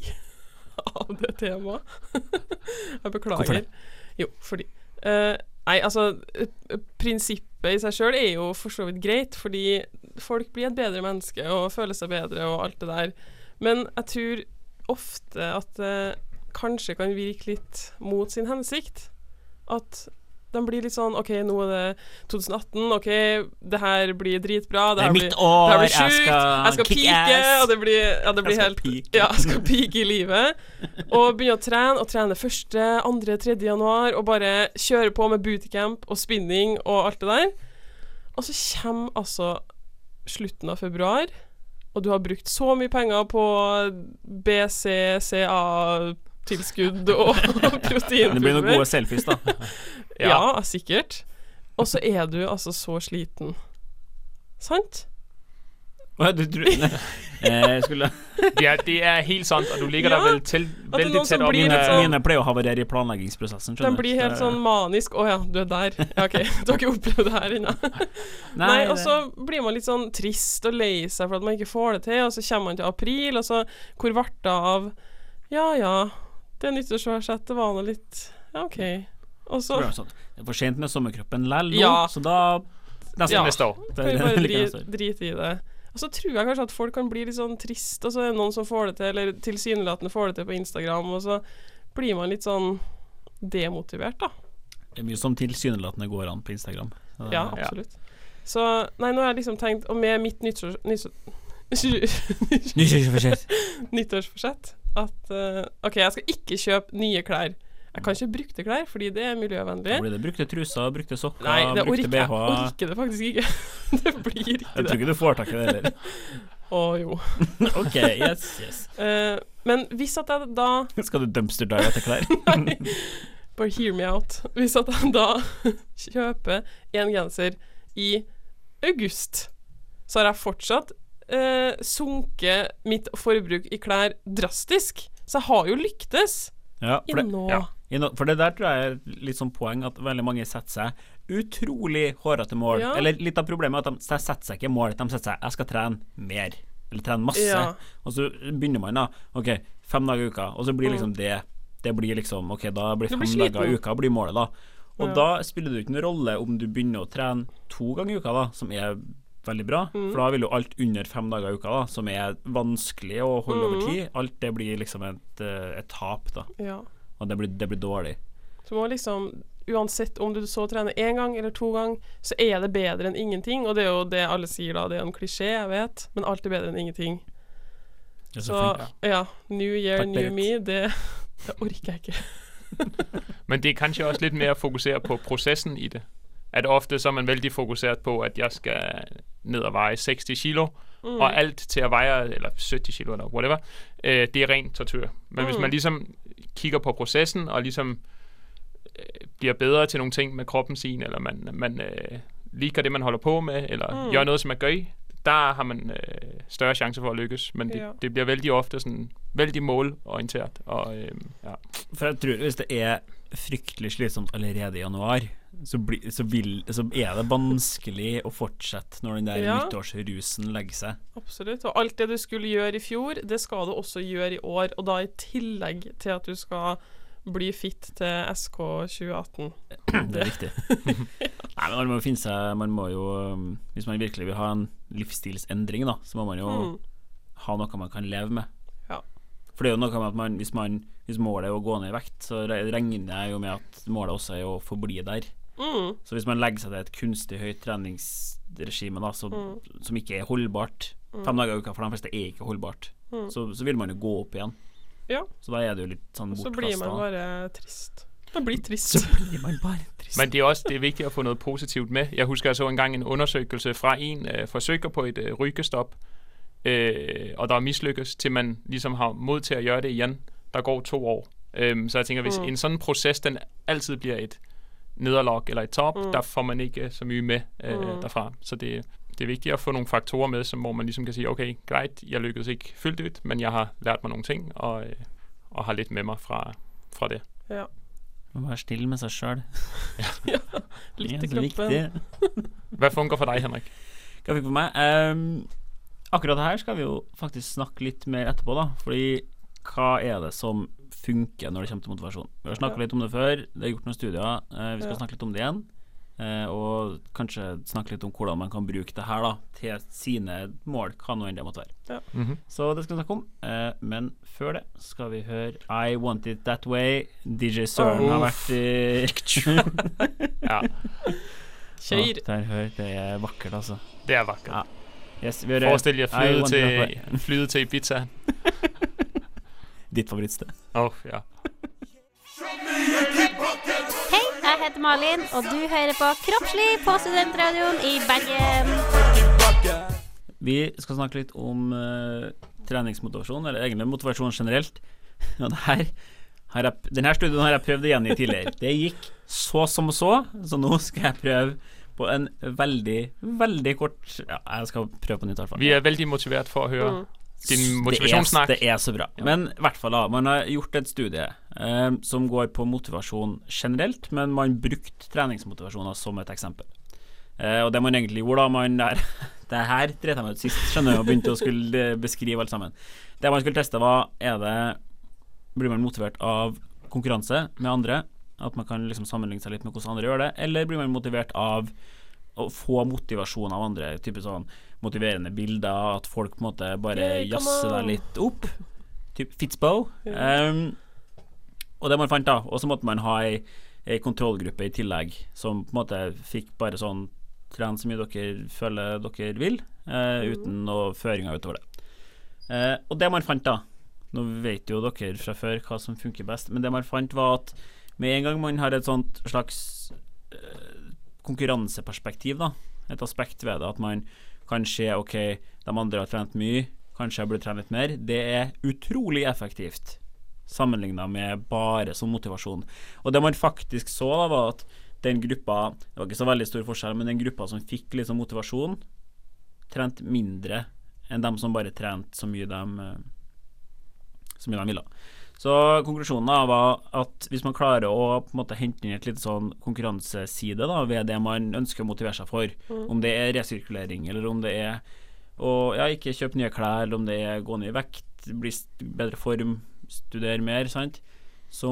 Speaker 9: <laughs> av det temaet. <laughs> jeg beklager.
Speaker 7: Hvorfor det?
Speaker 9: Jo, fordi eh, Nei, altså, eh, prinsippet i seg sjøl er jo for så vidt greit, fordi folk blir et bedre menneske og føler seg bedre og alt det der. Men jeg tror ofte at det kanskje kan virke litt mot sin hensikt. At de blir litt sånn OK, nå er det 2018. OK, det her blir dritbra. Det
Speaker 7: Det er
Speaker 9: her
Speaker 7: mitt
Speaker 9: blir,
Speaker 7: år,
Speaker 9: det her blir
Speaker 7: jeg
Speaker 9: sjukt.
Speaker 7: skal
Speaker 9: Jeg skal
Speaker 7: kick
Speaker 9: pike,
Speaker 7: ass.
Speaker 9: og det blir, ja, det
Speaker 7: Jeg
Speaker 9: blir
Speaker 7: skal
Speaker 9: helt
Speaker 7: pike.
Speaker 9: Ja, jeg skal pike i livet. Og begynne å trene, og trene første, andre, tredje januar, og bare kjøre på med bootcamp og spinning og alt det der. Og så kommer altså slutten av februar, og du har brukt så mye penger på BCCA-tilskudd og <laughs> proteinpulver.
Speaker 7: Det blir noen gode selfies,
Speaker 8: <laughs>
Speaker 7: da.
Speaker 9: Ja, sikkert. Og så er du altså så sliten. Sant?
Speaker 7: Å, ja, du, tror- nei. Eh, jeg skulle,
Speaker 8: Ja, det er helt sant, og du ligger
Speaker 9: Ja,
Speaker 8: der vel til,
Speaker 9: er
Speaker 8: veldig
Speaker 9: noen som
Speaker 8: tett opp.
Speaker 9: blir
Speaker 8: mine-
Speaker 7: mine,
Speaker 9: litt sånn-
Speaker 7: mine pleier å havarere i planleggingsprosessen.
Speaker 9: Den
Speaker 7: skjønner du.
Speaker 9: blir helt
Speaker 7: Så-
Speaker 9: sånn manisk. Å ja, du er der. Ja, OK, <laughs> du har ikke opplevd det her ennå.
Speaker 7: Nei,
Speaker 9: Nei,
Speaker 7: det-
Speaker 8: altså,
Speaker 9: og så blir man litt sånn trist og lei seg for at man ikke får det til, og så kommer man til april, og så Hvor ble det av Ja ja, det nyttårsforsett, det var nå litt Ja, OK. Og så
Speaker 7: blir
Speaker 9: <laughs>
Speaker 7: det sånn. Det er for sent med sommerkroppen lell nå,
Speaker 9: Ja.
Speaker 7: så da Neste
Speaker 9: Ja.
Speaker 8: neste år.
Speaker 7: Det
Speaker 9: Kan vi
Speaker 7: er-
Speaker 9: bare
Speaker 7: like neste
Speaker 9: dri,
Speaker 7: år.
Speaker 9: drite i det. Og så tror jeg kanskje at folk kan bli litt sånn trist, og så er det noen som får det til, eller tilsynelatende får det til på Instagram, og så blir man litt sånn demotivert, da.
Speaker 7: Det er mye som tilsynelatende går an på Instagram. Så det-
Speaker 9: Ja, absolutt. Så nei, nå har jeg liksom tenkt Og med mitt nyttårs, nyttårs,
Speaker 7: Nå kjører vi for sent.
Speaker 9: <laughs> nyttårsforsett at eh, OK, jeg skal ikke kjøpe nye klær. Jeg kan ikke brukte klær, fordi det er miljøvennlig.
Speaker 7: Da blir det brukte truser, brukte sokker,
Speaker 9: Nei, det orker
Speaker 7: brukte
Speaker 9: jeg
Speaker 7: BH.
Speaker 9: orker det faktisk ikke. <laughs> Det blir ikke
Speaker 7: Jeg tror
Speaker 9: det.
Speaker 7: ikke du får tak i det
Speaker 9: <laughs>
Speaker 7: heller.
Speaker 9: Å jo.
Speaker 7: Ok, yes, yes.
Speaker 9: Eh, men hvis at jeg da
Speaker 7: Skal du dumpster dive etter klær?
Speaker 9: Bare hear me out. Hvis at jeg da <laughs> kjøper en genser i august, så har jeg fortsatt eh, sunket mitt forbruk i klær drastisk. Så jeg har jo lyktes
Speaker 7: Ja, for
Speaker 9: i
Speaker 7: det,
Speaker 9: nå.
Speaker 8: ja.
Speaker 7: i nå- for det der tror jeg er litt sånn poeng at veldig mange setter seg utrolig hårete mål.
Speaker 9: Ja.
Speaker 7: Eller litt av problemet er at de de setter seg ikke mål, de setter seg 'jeg skal trene mer', eller 'trene masse'.
Speaker 9: Ja.
Speaker 7: Og så begynner man, da. Ok, fem dager i uka, og så blir liksom det Det blir liksom Ok, da blir
Speaker 9: Du
Speaker 7: fem
Speaker 9: blir
Speaker 7: dager i
Speaker 9: sliten.
Speaker 7: uka blir målet, da. Og da spiller det jo ikke noen rolle om du begynner å trene to ganger i uka, da, som er veldig bra,
Speaker 9: Mm.
Speaker 7: for da vil jo alt under fem dager i uka, da, som er vanskelig å holde
Speaker 9: Mm.
Speaker 7: over tid, alt det blir liksom et, eh, et tap, da.
Speaker 9: Ja.
Speaker 7: Og det blir, det blir dårlig.
Speaker 9: Du må liksom Uansett om du så trener én gang eller to ganger, så er det bedre enn ingenting. Og det er jo det alle sier da, det er en klisjé, jeg vet, men alt er bedre enn ingenting.
Speaker 7: Det er
Speaker 9: Så
Speaker 7: så fint.
Speaker 9: ja, new year,
Speaker 7: Takk,
Speaker 9: new
Speaker 7: Berit.
Speaker 9: me, det, <laughs> det orker jeg ikke.
Speaker 8: Men det er kanskje også litt mer å fokusere på prosessen i det. At ofte så er man veldig fokusert på at jeg skal ned og veie 60 kilo, og alt til å veie eller 70 kilo eller whatever, øh, det er ren tortur. Men hvis man liksom kigger på prosessen og liksom øh, bliver bedre til nogle ting med kroppen sin, eller man, man øh, liker det, man holder på med, eller gjør noget, som er gøy, der har man øh, større chance for at lykkes. Men det,
Speaker 9: Ja.
Speaker 8: det bliver vældig ofte sådan, vældig målorienteret. Og, øh, ja.
Speaker 7: For jeg tror hvis det er fryktelig slitsomt allerede i januar, så, bli, så, vil, så er det vanskelig å fortsette når den der
Speaker 9: Ja.
Speaker 7: nyttårsrusen legger seg.
Speaker 9: Absolutt. Og alt det du skulle gjøre i fjor, det skal du også gjøre i år. Og da i tillegg til at du skal bli fit til SK 2018.
Speaker 7: Det er
Speaker 9: <laughs>
Speaker 7: riktig. Nei, men man må jo finne seg Man må jo um, Hvis man virkelig vil ha en livsstilsendring, da, så må man jo
Speaker 9: Mm.
Speaker 7: ha noe man kan leve med.
Speaker 9: Ja.
Speaker 7: For det er jo noe med at man hvis, man hvis målet er å gå ned i vekt, så re- regner jeg jo med at målet også er å forbli der.
Speaker 9: Mm.
Speaker 7: Så hvis man legger seg til et kunstig høyt treningsregime da, som,
Speaker 9: Mm.
Speaker 7: som ikke er holdbart Fem dager i uka for de fleste er ikke holdbart.
Speaker 9: Mm.
Speaker 7: Så, så vil man jo gå opp igjen.
Speaker 9: Ja.
Speaker 7: Så da er det jo litt sånn
Speaker 9: Så blir man
Speaker 7: bortkasta.
Speaker 9: bare trist. Man blir trist.
Speaker 7: blir man bare trist.
Speaker 8: Men det er også det er vigtigt at få noget positivt med. Jeg husker, jeg så engang en undersøgelse fra en øh, forsøger på et øh, rygestop, øh, og der mislykkes, til man ligesom har mod til at gøre det igen. Der går to år. Øhm, så jeg tænker, hvis en sådan proces, den altid bliver et nederlag eller et top, der får man ikke øh, så mye med øh, derfra. Så det, det er vigtigt at få nogle faktorer med, som, hvor man ligesom kan sige, okay, greit, jeg lykkedes ikke fyldt ud, men jeg har lært mig nogle ting, og, øh, og har lidt med mig fra, fra det.
Speaker 9: Ja.
Speaker 7: Man må være snill med seg sjøl.
Speaker 9: <laughs> Litt i kroppen.
Speaker 8: Hvad fungerer for dig, Henrik?
Speaker 7: Hva fikk på meg? Ehm, akkurat det her skal vi jo faktisk snakke litt mer etterpå, da. Fordi hva er det som funker når det kommer til motivasjon? Vi har snakka
Speaker 9: Ja.
Speaker 7: litt om det før, det er gjort noen studier. eh, vi skal
Speaker 9: Ja.
Speaker 7: snakke litt om det igjen. eh, og kanskje snakke litt om hvordan man kan bruke det her da til sine mål, hva nå enn det måtte være.
Speaker 9: Ja.
Speaker 8: Mhm.
Speaker 7: Så det skal vi snakke om. eh, men før det skal vi høre I Want It That Way. DJ Søren har vært
Speaker 9: <laughs>
Speaker 7: i <laughs>
Speaker 8: Ja,
Speaker 9: Kjør.
Speaker 7: Å, Der, hør. Det er vakkert, altså.
Speaker 8: det er vakkert.
Speaker 7: Ja. Yes, vi hører
Speaker 8: Forestil jer
Speaker 7: I Want
Speaker 8: flyde
Speaker 7: It That Way.
Speaker 8: til, flyde til Ibiza. oh,
Speaker 7: Ditt favorittsted.
Speaker 8: Åh, ja.
Speaker 11: Hei, jeg heter heter Malin, og du hører på Kroppslig på Studentradioen i Bergen.
Speaker 7: Vi skal snakke litt om eh, treningsmotivasjon, eller egentlig motivasjon generelt. <laughs> Og det her, har jeg, denne studien har jeg prøvd å gjengi tidligere. Det gikk så som så, så nå skal jeg prøve på en veldig, veldig kort Ja, jeg skal prøve på nytt, i hvert fall.
Speaker 8: Vi er veldig motivert for å høre din
Speaker 7: Det
Speaker 8: motivasjonssnakk.
Speaker 7: er, det er så bra. Men i hvert fall, da. Man har gjort et studie eh, som går på motivasjon generelt, men man brukte treningsmotivasjoner som et eksempel. Eh, og det man egentlig gjorde da man der, <laughs> Det her dreit jeg meg ut sist, skjønner du, og begynte å skulle eh, beskrive alt sammen. Det man skulle teste, var er det Blir man motivert av konkurranse med andre? At man kan liksom sammenligne seg litt med hvordan andre gjør det? Eller blir man motivert av å få motivasjon av andre? Type sånn motiverende bilder, at folk på en måte bare
Speaker 9: Yay, come
Speaker 7: jazzer
Speaker 9: on.
Speaker 7: deg litt opp. Typ Fitzbow. Ehm, og det man fant, da. Og så måtte man ha ei, ei kontrollgruppe i tillegg, som på en måte fikk bare sånn Tren så mye dere føler dere vil, eh,
Speaker 9: Mhm.
Speaker 7: uten noe føringer utover det. Eh, og det man fant, da Nå vet jo dere fra før hva som funker best, men det man fant, var at med en gang man har et sånt slags eh, konkurranseperspektiv, da, et aspekt ved det, at man kan se OK, de andre har trent mye, kanskje jeg burde trene litt mer, det er utrolig effektivt sammenligna med bare som motivasjon. Og det man faktisk så, da, var at den gruppa Det var ikke så veldig stor forskjell, men den gruppa som fikk liksom motivasjon, trente mindre enn dem som bare trente så mye de eh, Så mye de ville. Så konklusjonen da var at hvis man klarer å på en måte hente inn et lite sånn konkurranseside da, ved det man ønsker å motivere seg for, om det er resirkulering, eller om det er å ja, ikke kjøpe nye klær, eller om det er gå ned i vekt, bli st- bedre form, studere mer, sant, så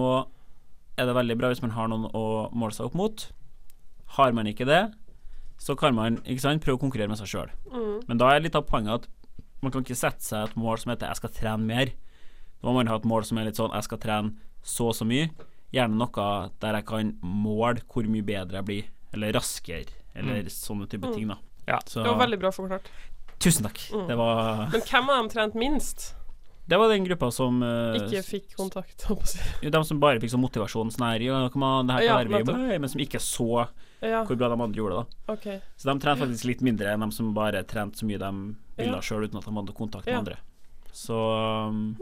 Speaker 7: er det veldig bra hvis man har noen å måle seg opp mot. Har man ikke det, så kan man ikke sant, prøve å konkurrere med seg sjøl.
Speaker 9: Mm.
Speaker 7: Men da er litt av poenget at man kan ikke sette seg et mål som heter 'jeg skal trene mer'. Da må man ha et mål som er litt sånn 'jeg skal trene så og så mye'. Gjerne noe der jeg kan måle hvor mye bedre jeg blir, eller raskere, eller sånne type ting, da.
Speaker 8: Ja.
Speaker 7: Så,
Speaker 9: Mm. Det var veldig bra forklart.
Speaker 7: Tusen takk.
Speaker 9: Mm.
Speaker 7: Det, var,
Speaker 9: Men hvem har de trent minst?
Speaker 7: det var den gruppa som eh,
Speaker 9: Ikke fikk kontakt, holdt på å si.
Speaker 7: Jo, De som bare fikk sånn motivasjon sånn her, ja, kom an, det her
Speaker 9: Ja,
Speaker 7: klarer vi jo»,
Speaker 9: nettopp.
Speaker 7: nei, men som ikke så
Speaker 9: Ja,
Speaker 7: hvor bra de andre gjorde det. da.
Speaker 9: OK.
Speaker 7: Så de trente faktisk litt mindre enn de som bare trente så mye de ville
Speaker 9: Ja.
Speaker 7: sjøl, uten at de hadde kontakt med
Speaker 9: Ja. Hm.
Speaker 7: andre. Så um,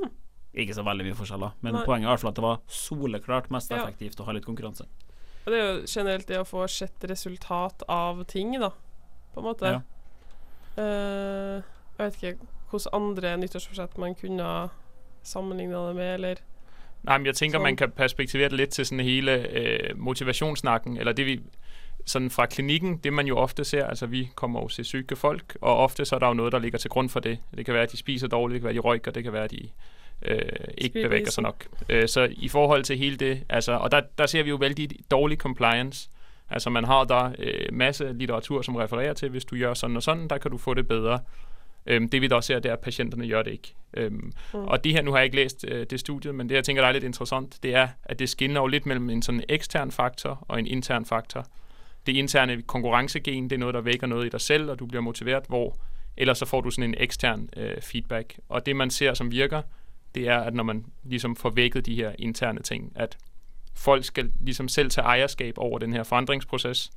Speaker 7: ikke så veldig mye forskjell, da. Men
Speaker 9: Nei.
Speaker 7: poenget er i hvert fall at det var soleklart mest
Speaker 9: Ja.
Speaker 7: effektivt å ha litt konkurranse.
Speaker 9: Og det er jo generelt det å få sett resultat av ting, da, på en måte.
Speaker 7: Ja.
Speaker 9: Eh, jeg vet ikke hvilke andre nyttårsforsett man kunne sammenligna det med, eller
Speaker 8: Nej, men jeg tænker,
Speaker 9: Så-
Speaker 8: man kan perspektivere det lidt til sådan hele øh, motivationssnakken, eller det vi sådan fra klinikken, det man jo ofte ser, altså vi kommer jo til syge folk, og ofte så er der jo noget, der ligger til grund for det. Det kan være, at de spiser dårligt, det kan være, de røyker, det kan være, de øh, ikke
Speaker 9: Spiser.
Speaker 8: bevæger sig nok. Øh, så i forhold til hele det, altså, og der, der ser vi jo vældig dårlig compliance. Altså man har der øh, masse litteratur, som refererer til, hvis du gør sådan og sådan, der kan du få det bedre. Øhm, det vi da ser, det er, at patienterne gør det ikke. Øhm, Og det her, nu har jeg ikke læst øh, det studie, men det jeg tænker, der er lidt interessant, det er, at det skinner jo lidt mellem en sådan ekstern faktor og en intern faktor. Det interne konkurrencegen, det er noget, der vækker noget i dig selv, og du bliver motiveret, hvor ellers så får du sådan en ekstern øh, feedback. Og det man ser, som virker, det er, at når man ligesom får vækket de her interne ting, at folk skal ligesom selv tage ejerskab over den her forandringsproces,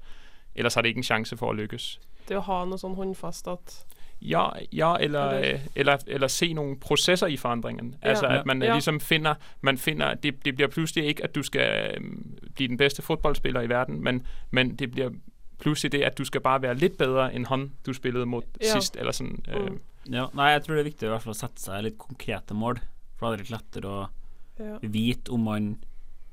Speaker 8: ellers har det ikke en chance for at lykkes.
Speaker 9: det å ha noe sånn håndfast at
Speaker 8: Ja, ja eller,
Speaker 9: Eller-
Speaker 8: øh, eller, eller se nogle processer i forandringen.
Speaker 9: Ja.
Speaker 8: Altså,
Speaker 9: Ja.
Speaker 8: at man øh,
Speaker 9: Ja.
Speaker 8: ligesom finder, man finder det, det bliver pludselig ikke, at du skal øh, blive den bedste fodboldspiller i verden, men, men det bliver pludselig det, at du skal bare være lidt bedre end ham, du spillede mod
Speaker 9: Ja.
Speaker 8: sidst, eller sådan. Øh,
Speaker 9: Mm.
Speaker 7: Ja, nei, jeg tror det er viktig i hvert fall å sette seg litt konkrete mål, for da er det litt lettere å
Speaker 9: ja,
Speaker 7: vite om man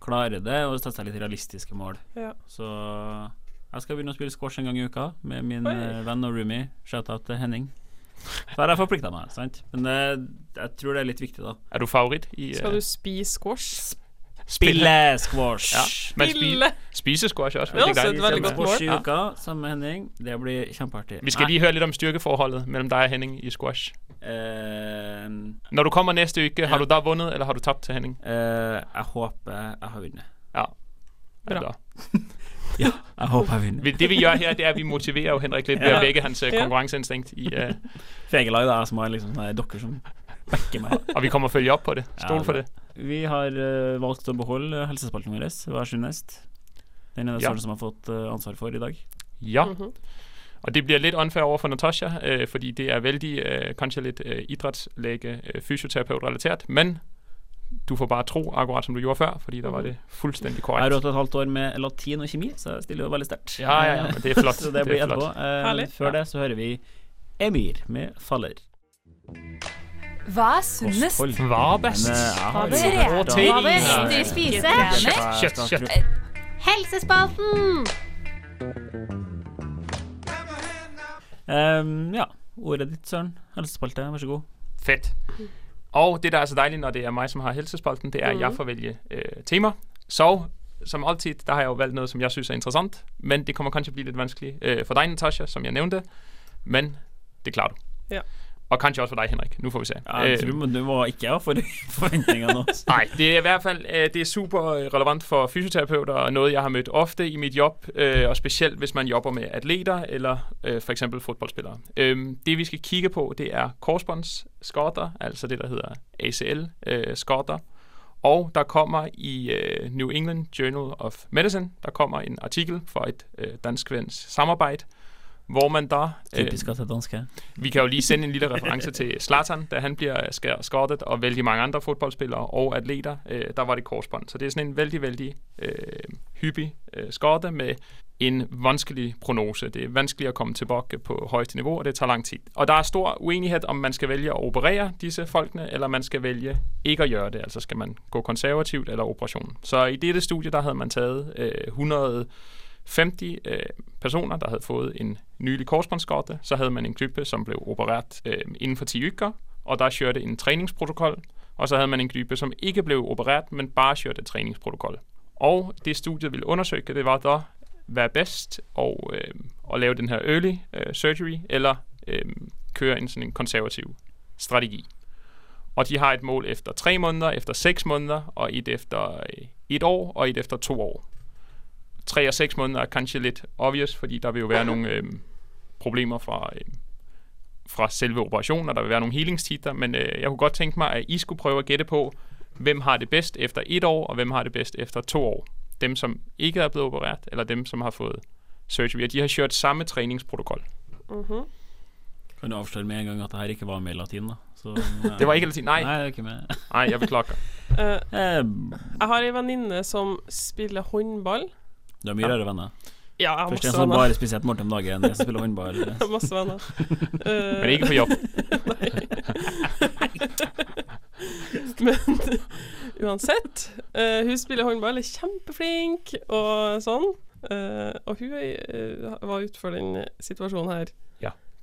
Speaker 7: klarer det, og sette seg litt realistiske mål.
Speaker 9: ja.
Speaker 7: Så jeg skal begynne å spille squash en gang i uka med min
Speaker 9: Oi.
Speaker 7: eh, venn og roomie. Shout-out til Henning. Så har jeg forplikta meg, sant. Men det, jeg tror det er litt viktig, da.
Speaker 8: Er du favorit i øh,
Speaker 9: Skal du spise squash?
Speaker 7: Spille squash!
Speaker 8: Ja. Men
Speaker 9: Spille!
Speaker 8: spi- spise squash er også
Speaker 9: Det er
Speaker 8: veldig
Speaker 9: også et
Speaker 8: dejligt.
Speaker 9: veldig godt mål.
Speaker 7: Squash i uka sammen med Henning. Det blir kjempeartig.
Speaker 8: Vi skal
Speaker 7: Nei,
Speaker 8: lige høre lidt om styrkeforholdet mellem dig og Henning i squash.
Speaker 7: eh,
Speaker 8: Når du kommer næste uge, har du da vundet, eller har du tabt til Henning?
Speaker 7: eh, jeg håper jeg har vunnet.
Speaker 8: Ja. Eller-
Speaker 7: Jeg håper jeg vinner.
Speaker 8: Vi- Det vi gør her, det er, at vi motiverer jo Henrik lidt ved
Speaker 9: Ja.
Speaker 8: at vække hans øh,
Speaker 9: Ja.
Speaker 8: konkurrenceinstinkt. I, øh,
Speaker 7: Fegelag, da, som har liksom sånne dokker som backer <laughs> meg.
Speaker 8: og vi kommer at følge op på det.
Speaker 7: Ja,
Speaker 8: Stol for
Speaker 7: bra.
Speaker 8: det.
Speaker 7: Vi har eh, valgt å beholde helsespalten vår hver sin nest. Den er det
Speaker 8: Ja.
Speaker 7: Søren som har fått eh, ansvar for i dag.
Speaker 8: Ja.
Speaker 9: Mhm.
Speaker 8: Og det bliver lidt unfair over for Natasha, øh, fordi det er vældig, øh, kanskje lidt øh, idrætslæge, øh, fysioterapeut relateret, men du får bare tro, akkurat som du gjorde før, fordi der var det fuldstændig
Speaker 7: Jeg har
Speaker 8: korrekt.
Speaker 7: hatt et halvt år med latin og kjemi, så jeg stiller jo veldig sterkt.
Speaker 8: Ja, ja, ja, men det er flott.
Speaker 7: <laughs> så det blir
Speaker 8: Det er flott.
Speaker 7: etterpå. Eh,
Speaker 9: Herlig.
Speaker 7: før det så hører vi Emir med 'Faller'.
Speaker 10: Hva er sunnest?
Speaker 8: Var best.
Speaker 7: øh,
Speaker 10: Hva
Speaker 7: Fader!
Speaker 10: bør jeg
Speaker 8: Protein.
Speaker 10: riktig spise?
Speaker 8: Shit, shit.
Speaker 11: Helsespalten!
Speaker 7: Ehm, ja. Ordet ditt, Søren. Helsespalte, vær så god.
Speaker 8: Fedt. Og det, der er så dejligt, når det er mig, som har helsespalten, det er, at jeg får vælge øh, tema. Så som altid, der har jeg jo valgt noget, som jeg synes er interessant, men det kommer kanskje blive lidt vanskeligt øh, for dig, Natasha, som jeg nævnte, men det klarer du.
Speaker 9: Ja.
Speaker 8: Og kanskje også for dig, Henrik. Nu får vi se. Øh,
Speaker 7: Ja, jeg tror du må- du må ikke ha for forventninger nå.
Speaker 8: <laughs> Nej, det er i hvert fald øh, det er super øh, relevant for fysioterapeuter, og noget, jeg har mødt ofte i mit job, øh, og specielt hvis man jobber med atleter eller øh, for eksempel fodboldspillere. Øhm, det, vi skal kigge på, det er korsbåndsskotter, altså det, der hedder ACL-skotter. øh, og der kommer i øh, New England Journal of Medicine, der kommer en artikel fra et øh, dansk-svensk samarbejde, hvor man der...
Speaker 7: <laughs>
Speaker 8: øh,
Speaker 7: Typisk at det er danske.
Speaker 8: vi kan jo lige sende en lille reference til Zlatan, da han bliver skær- skortet, og vældig mange andre fodboldspillere og atleter, øh, der var det korsbånd. Så det er sådan en vældig, vældig øh, hyppig øh, skorte med en vanskelig prognose. Det er vanskeligt at komme tilbage på højeste niveau, og det tager lang tid. Og der er stor uenighed, om man skal vælge at operere disse folkene, eller man skal vælge ikke at gøre det. Altså skal man gå konservativt eller operation. Så i dette studie, der havde man taget øh, 100 50 øh, personer, der havde fået en nylig korsbåndsskotte, så havde man en gruppe, som blev opereret øh, inden for 10 uger, og der kørte en træningsprotokol, og så havde man en gruppe, som ikke blev opereret, men bare kørte et træningsprotokol. Og det studiet ville undersøge, det var da, hvad er bedst og, øh, at lave den her early øh, surgery, eller øh, køre en sådan en konservativ strategi. Og de har et mål efter tre måneder, efter seks måneder, og et efter øh, et år, og et efter to år tre og seks måneder er kanskje lidt obvious, fordi der vil jo være nogle øh, problemer fra, øh, fra selve operationen, og der vil være nogle healingstider, men øh, jeg kunne godt tænke mig, at I skulle prøve at gætte på, hvem har det bedst efter et år, og hvem har det bedst efter to år. Dem, som ikke er blevet opereret, eller dem, som har fået surgery, og de har kjørt samme træningsprotokol.
Speaker 7: Kan du avsløre med en gang at det her ikke var med i latin, da? <laughs> Så, eh,
Speaker 8: Det var ikke altid, nej,
Speaker 7: Nei, det er ikke med.
Speaker 8: nej, jeg beklager.
Speaker 9: Eh,
Speaker 7: <laughs> Eh,
Speaker 9: jeg har ei venninne som spiller håndball.
Speaker 7: Du har mye rare venner.
Speaker 9: Ja, jeg
Speaker 7: Først
Speaker 9: har
Speaker 7: en
Speaker 9: masse
Speaker 7: som
Speaker 9: venner.
Speaker 7: bare spiser et måltid om dagen, en som spiller håndball.
Speaker 9: Jeg har <laughs>
Speaker 7: <laughs>
Speaker 9: masse venner. Eh,
Speaker 8: Men ikke på jobb.
Speaker 9: <laughs> Men <laughs> uansett, eh, hun spiller håndball, er kjempeflink og sånn. Eh, og hun eh, var utenfor den situasjonen her.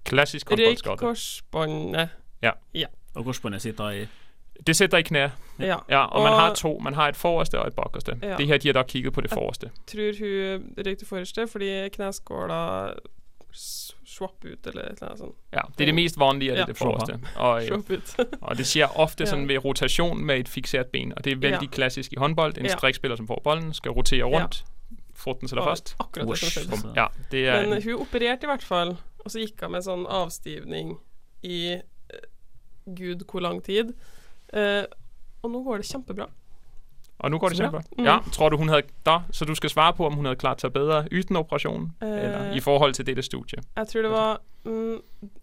Speaker 8: Klassisk
Speaker 9: Røyk
Speaker 8: håndboldskade.
Speaker 9: korsbåndet.
Speaker 7: Og korsbåndet sitter i
Speaker 8: Det sætter i knæ.
Speaker 9: Ja.
Speaker 8: Ja, og man
Speaker 9: Og-
Speaker 8: har to. Man har et forreste og et bakerste.
Speaker 9: Ja.
Speaker 8: Det her, de har dog kigget på det forreste.
Speaker 9: Tror hun røyk det forreste fordi kneskåla s- swapp ut, eller et eller annet sånt.
Speaker 8: Ja, det er det mest vanlige, at det er
Speaker 9: Ja.
Speaker 8: det forreste. Og, øh,
Speaker 9: Swapp ut.
Speaker 8: og det sker ofte
Speaker 9: Ja.
Speaker 8: sådan ved rotation med et fikseret ben, og det er vældig
Speaker 9: Ja.
Speaker 8: klassisk i håndbold. En
Speaker 9: Ja.
Speaker 8: strikspiller, som får bolden, skal rotere rundt. Foten sætter
Speaker 9: Og
Speaker 8: først.
Speaker 9: <laughs> Akkurat det som
Speaker 7: Whoosh.
Speaker 9: skjedde.
Speaker 7: Så-
Speaker 8: Ja, det er
Speaker 9: Men øh,
Speaker 8: en,
Speaker 9: hun opererte i hvert fall, og så gikk hun med sånn avstivning i eh, gud hvor lang tid. Eh, og nå går det kjempebra.
Speaker 8: Og nu går det
Speaker 9: Så bra.
Speaker 8: simpelthen.
Speaker 9: Mm.
Speaker 8: Ja, tror du, hun havde der? Så du skal svare på, om hun havde klart sig bedre uden operationen,
Speaker 9: Øh.
Speaker 8: eller i forhold til dette studie.
Speaker 9: Jeg tror det var mm,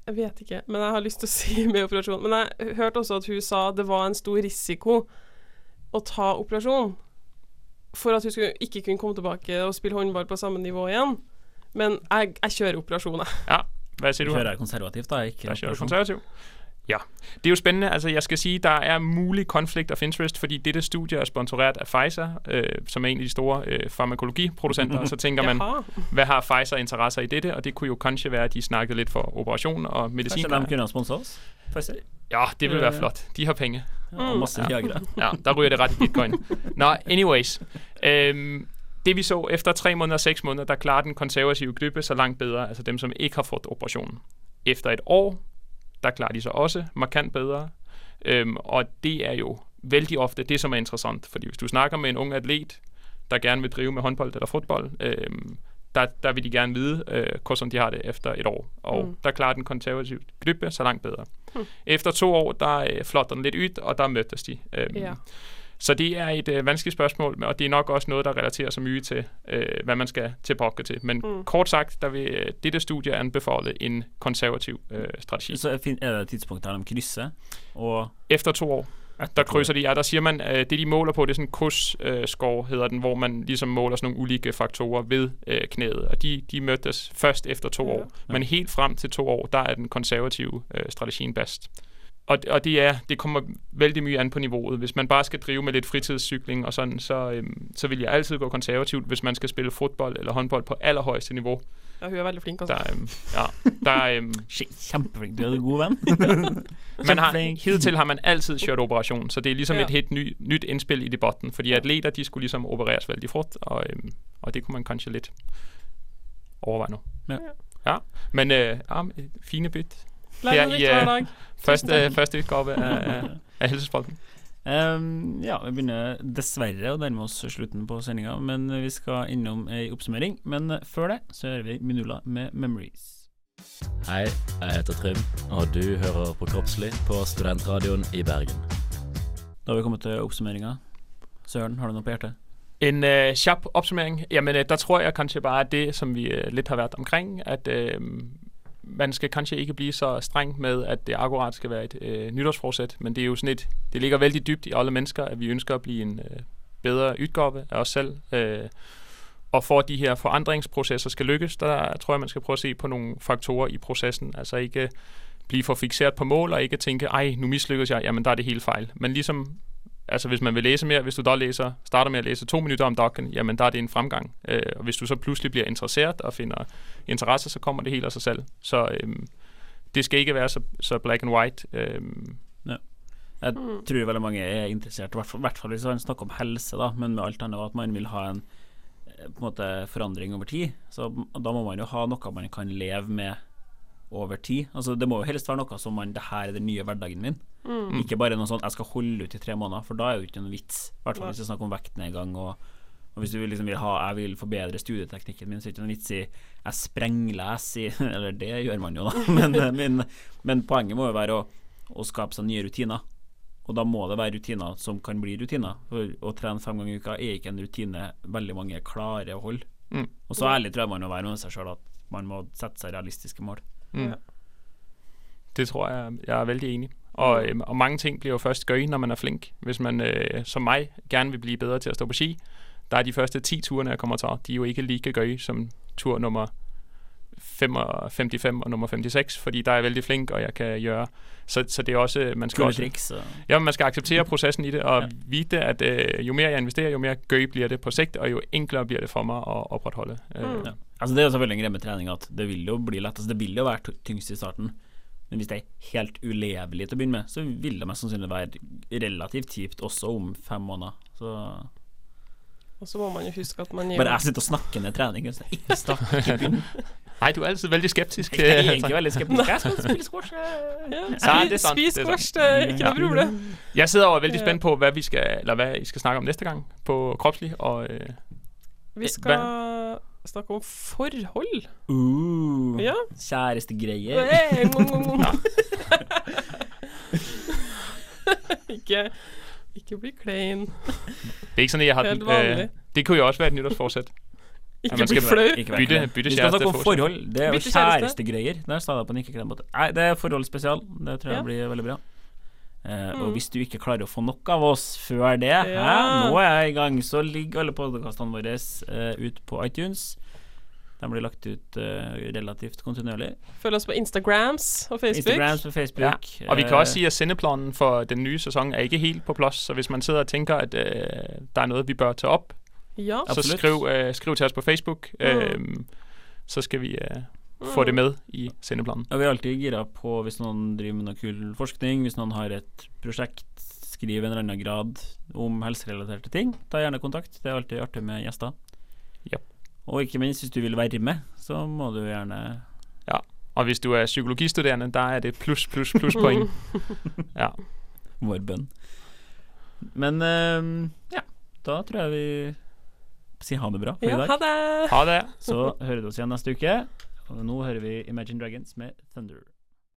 Speaker 9: Jeg vet ikke, men jeg har lyst til å <laughs> si med operasjon. Men jeg hørte også at hun sa det var en stor risiko å ta operasjon. For at hun skulle ikke kunne komme tilbake og spille håndball på samme nivå igjen. Men jeg, jeg kjører operasjon, jeg.
Speaker 8: Ja, hvad siger du?
Speaker 7: Hører jeg konservativt, da? Ikke
Speaker 8: Der kjører du
Speaker 7: operasjon.
Speaker 8: konservativ. Ja, det er jo spændende. Altså, jeg skal sige, der er mulig konflikt of interest, fordi dette studie er sponsoreret af Pfizer, øh, som er en af de store
Speaker 7: <laughs>
Speaker 8: øh, farmakologiproducenter, og så tænker man,
Speaker 9: Jaha.
Speaker 8: hvad har Pfizer interesser i dette? Og det kunne jo kanskje være, at de snakkede lidt for operation og medicin.
Speaker 7: Kanskje de kunne ha sponsa oss? Pfizer?
Speaker 8: Ja, det vil
Speaker 7: Ja,
Speaker 8: være
Speaker 7: ja.
Speaker 8: flot. De har penge.
Speaker 7: Ja, og masse Viagra.
Speaker 8: Ja, der ryger det ret i bitcoin. Nå, anyways. Øhm, det vi så efter 3 måneder og 6 måneder, der klarer den konservative gruppe så langt bedre, altså dem, som ikke har fået operationen. Efter et år, der klarer de sig også markant bedre. Øhm, og det er jo vældig ofte det, som er interessant. Fordi hvis du snakker med en ung atlet, der gerne vil drive med håndbold eller fodbold, øhm, der, der vil de gerne vide, øh, hvordan de har det efter et år. Og mm. der klarer den konservative
Speaker 9: Mm.
Speaker 8: gruppe så langt bedre. Efter to år, der øh, flotter den lidt ud, og der mødtes de. Øhm,
Speaker 9: Ja.
Speaker 8: Så det er et øh, vanskeligt spørgsmål, og det er nok også noget, der relaterer sig mye til, øh, hvad man skal tilbage til. Men
Speaker 9: Mm.
Speaker 8: kort sagt, der vil øh, dette studie anbefale en konservativ øh, strategi.
Speaker 7: Så er fin- er det et tidspunkt der de krysser, og
Speaker 8: Efter to år, der krydser de, ja, der siger man, øh, det de måler på, det er sådan en kursscore, øh, score, hedder den, hvor man ligesom måler sådan nogle ulike faktorer ved øh, knæet, og de, de mødtes først efter to
Speaker 9: Ja.
Speaker 8: år. Men helt frem til to år, der er den konservative øh, strategien bedst. Og, og det, er, det kommer vældig mye an på niveauet. Hvis man bare skal drive med lidt fritidscykling og sådan, så, øhm, så vil jeg altid gå konservativt, hvis man skal spille fodbold eller håndbold på allerhøjeste niveau.
Speaker 9: Ja, hun er veldig flink, altså.
Speaker 8: Der, øhm, ja, der, øhm,
Speaker 7: Shit, kjempeflink, du er en <laughs> god venn.
Speaker 8: man har,
Speaker 7: Kjempeflink.
Speaker 8: hidtil har man altid kjørt operation, så det er ligesom
Speaker 9: Ja.
Speaker 8: et helt ny, nyt indspil i debatten, fordi atleter, de skulle ligesom opereres vældig frugt, og, øhm, og det kunne man kanskje lidt overveje nu.
Speaker 7: Ja.
Speaker 8: ja. Men øh, ja, men, fine byt.
Speaker 9: Lærer
Speaker 8: Ja,
Speaker 9: noe
Speaker 8: ja.
Speaker 9: nytt hver dag.
Speaker 8: Første, øh, første utgave af, af- af Helsespalten.
Speaker 7: Ehm, Eh, ja, vi begynner dessverre å nærme oss slutten på sendinga, men vi skal innom ei oppsummering. Men eh, før det så hører vi Minula med 'Memories'.
Speaker 12: Hei, jeg heter Trym, og du hører på Kroppslig på Studentradioen i Bergen.
Speaker 7: Da har vi kommet til oppsummeringa. Søren, har du noe på hjertet?
Speaker 8: En øh, sharp opsummering. Jamen, øh, der tror jeg kanskje bare at det, som vi øh, lidt har været omkring, at øh, man skal kanskje ikke blive så streng med, at det akkurat skal være et øh, nytårsforsæt, men det er jo sådan et, det ligger vældig dybt i alle mennesker, at vi ønsker at blive en øh, bedre ytgårve af os selv. Øh, og for at de her forandringsprocesser skal lykkes, der tror jeg, man skal prøve at se på nogle faktorer i processen. Altså ikke blive for fixeret på mål, og ikke tænke, ej, nu mislykkes jeg, jamen der er det hele fejl. Men ligesom altså hvis man vil læse mere, hvis du da læser, starter med at læse to minutter om dokken, jamen der er det en fremgang. Øh, og hvis du så pludselig bliver interesseret og finder interesse, så kommer det helt af sig selv. Så øhm, det skal ikke være så, så black and white. Øhm,
Speaker 7: Jeg tror veldig mange er interessert, i hvert fall- i hvert fall hvis han snakker om helse, da, men med alt annet at man vil ha en, eh, på en måte, forandring over tid. Så da må man jo ha noe man kan leve med over tid. Altså Det må jo helst være noe som man Det her er den nye hverdagen min. Ikke bare noe sånn jeg skal holde ut i tre måneder, for da er det jo ikke noen vits. I hvert fall hvis det er snakk om vektnedgang og og hvis du liksom vil ha Jeg vil forbedre studieteknikken min, så er det ikke noen vits i Jeg sprengleser i <laughs> Eller det gjør man jo, da. <laughs> Men, men, men poenget må jo være å, å skape seg nye rutiner. Og da må det være rutiner som kan bli rutiner. For å trene fem ganger i uka er ikke en rutine veldig mange klarer å holde.
Speaker 8: Mm.
Speaker 7: Og så ærlig tror jeg man må være med seg sjøl at man må sette seg realistiske mål.
Speaker 8: Mm. Det tror jeg, jeg er vældig enig.
Speaker 7: Mm.
Speaker 8: Og, øhm, og mange ting bliver jo først gøy, når man er flink. Hvis man, øh, som mig, gerne vil blive bedre til at stå på ski, der er de første 10 turene, jeg kommer til, de er jo ikke lige gøy som tur nummer 5 og 55 og nummer 56, fordi der er jeg vældig flink, og jeg kan gøre... Så, så det er også... øh, Man skal
Speaker 7: Kule
Speaker 8: også,
Speaker 7: triks. og-
Speaker 8: Ja, men man skal acceptere processen i det, og
Speaker 7: Ja.
Speaker 8: ja. vide, at øh, jo mere jeg investerer, jo mere gøy bliver det på sigt, og jo enklere bliver det for mig at opretholde. Øh, <laughs>
Speaker 9: Mm.
Speaker 7: Ja. Altså Det er jo selvfølgelig en greie med trening at det vil jo bli lett. Altså Det vil jo være tu- tyngst i starten. Men hvis det er helt ulevelig til å begynne med, så vil det mest sannsynlig være relativt kjipt også om fem måneder. Så
Speaker 9: Og så må man jo huske at man gir
Speaker 7: Bare jeg sitter og snakker ned trening. Så ikke
Speaker 8: <laughs>
Speaker 7: start, ikke begynn.
Speaker 8: Ej, du er altid vældig skeptisk.
Speaker 7: Jeg er
Speaker 8: <laughs> øh,
Speaker 7: egentlig veldig skeptisk.
Speaker 9: <laughs>
Speaker 7: Jeg skal spille squash.
Speaker 9: Ja.
Speaker 8: Så er det
Speaker 9: Spis-
Speaker 8: sant,
Speaker 9: Spis
Speaker 8: det er
Speaker 9: squash, det er ikke noe problem.
Speaker 8: Jeg sidder og er vældig
Speaker 9: Ja.
Speaker 8: spændt på, hvad vi skal, eller hvad I skal snakke om næste gang på Kropslig, og øh,
Speaker 9: Vi skal snakke om forhold.
Speaker 7: Uh,
Speaker 9: Ja.
Speaker 7: Kjæreste greier.
Speaker 9: Hey, mm, mm, mm. <laughs> ikke, ikke bli klein.
Speaker 8: det er ikke sådan, at jeg har
Speaker 9: Helt
Speaker 8: den, øh,
Speaker 9: vanligt.
Speaker 8: det kunne jo også være et nytårsforsæt.
Speaker 9: Ikke
Speaker 8: man
Speaker 9: bli
Speaker 8: skal
Speaker 9: flau.
Speaker 7: Ikke
Speaker 8: Bytte-
Speaker 7: verkelig.
Speaker 8: bytte
Speaker 7: Vi skal
Speaker 8: kjæreste
Speaker 7: snakke om
Speaker 8: for-
Speaker 7: forhold. Det er jo
Speaker 9: Bytte kjæreste.
Speaker 7: kjæresteregreier. Der sa jeg på en ikke klem måte. Nei, det er forholdsspesial. Det tror jeg
Speaker 9: Ja.
Speaker 7: blir veldig bra. Eh,
Speaker 9: Mm.
Speaker 7: Og hvis du ikke klarer å få nok av oss før det, hæ,
Speaker 9: Ja.
Speaker 7: nå er jeg i gang, så ligger alle podkastene våre eh, ut på iTunes. De blir lagt ut eh, relativt kontinuerlig.
Speaker 9: Følg oss på Instagrams og Facebook.
Speaker 7: Instagrams og Facebook.
Speaker 8: Og vi kan
Speaker 7: Eh,
Speaker 8: også sige, at sendeplanen for den nye sæson er ikke helt på plads, så hvis man sidder og tænker, at øh, der er noget, vi bør tage op,
Speaker 9: Ja.
Speaker 8: så
Speaker 7: Absolut.
Speaker 8: skriv, øh, skriv til os på Facebook, øh, så skal vi øh, få det med i sendeplanen.
Speaker 7: Og vi er alltid gira på hvis noen driver med noe kul forskning, hvis noen har et prosjekt, skriv en eller annen grad om helserelaterte ting. Ta gjerne kontakt, det er alltid artig med gjester.
Speaker 8: Ja.
Speaker 7: Og ikke minst, hvis du vil være med, så må du gjerne
Speaker 8: Og hvis du er psykologistuderende, der er det plus, plus, plus point. ja.
Speaker 7: vår bønn. Men ehm, ja, da tror jeg vi sier ha det bra for
Speaker 9: ja,
Speaker 7: i dag.
Speaker 9: ha det!
Speaker 8: Ha det.
Speaker 7: Så hører du oss igjen neste uke. Og nå hører vi Imagine Dragons med Thunder.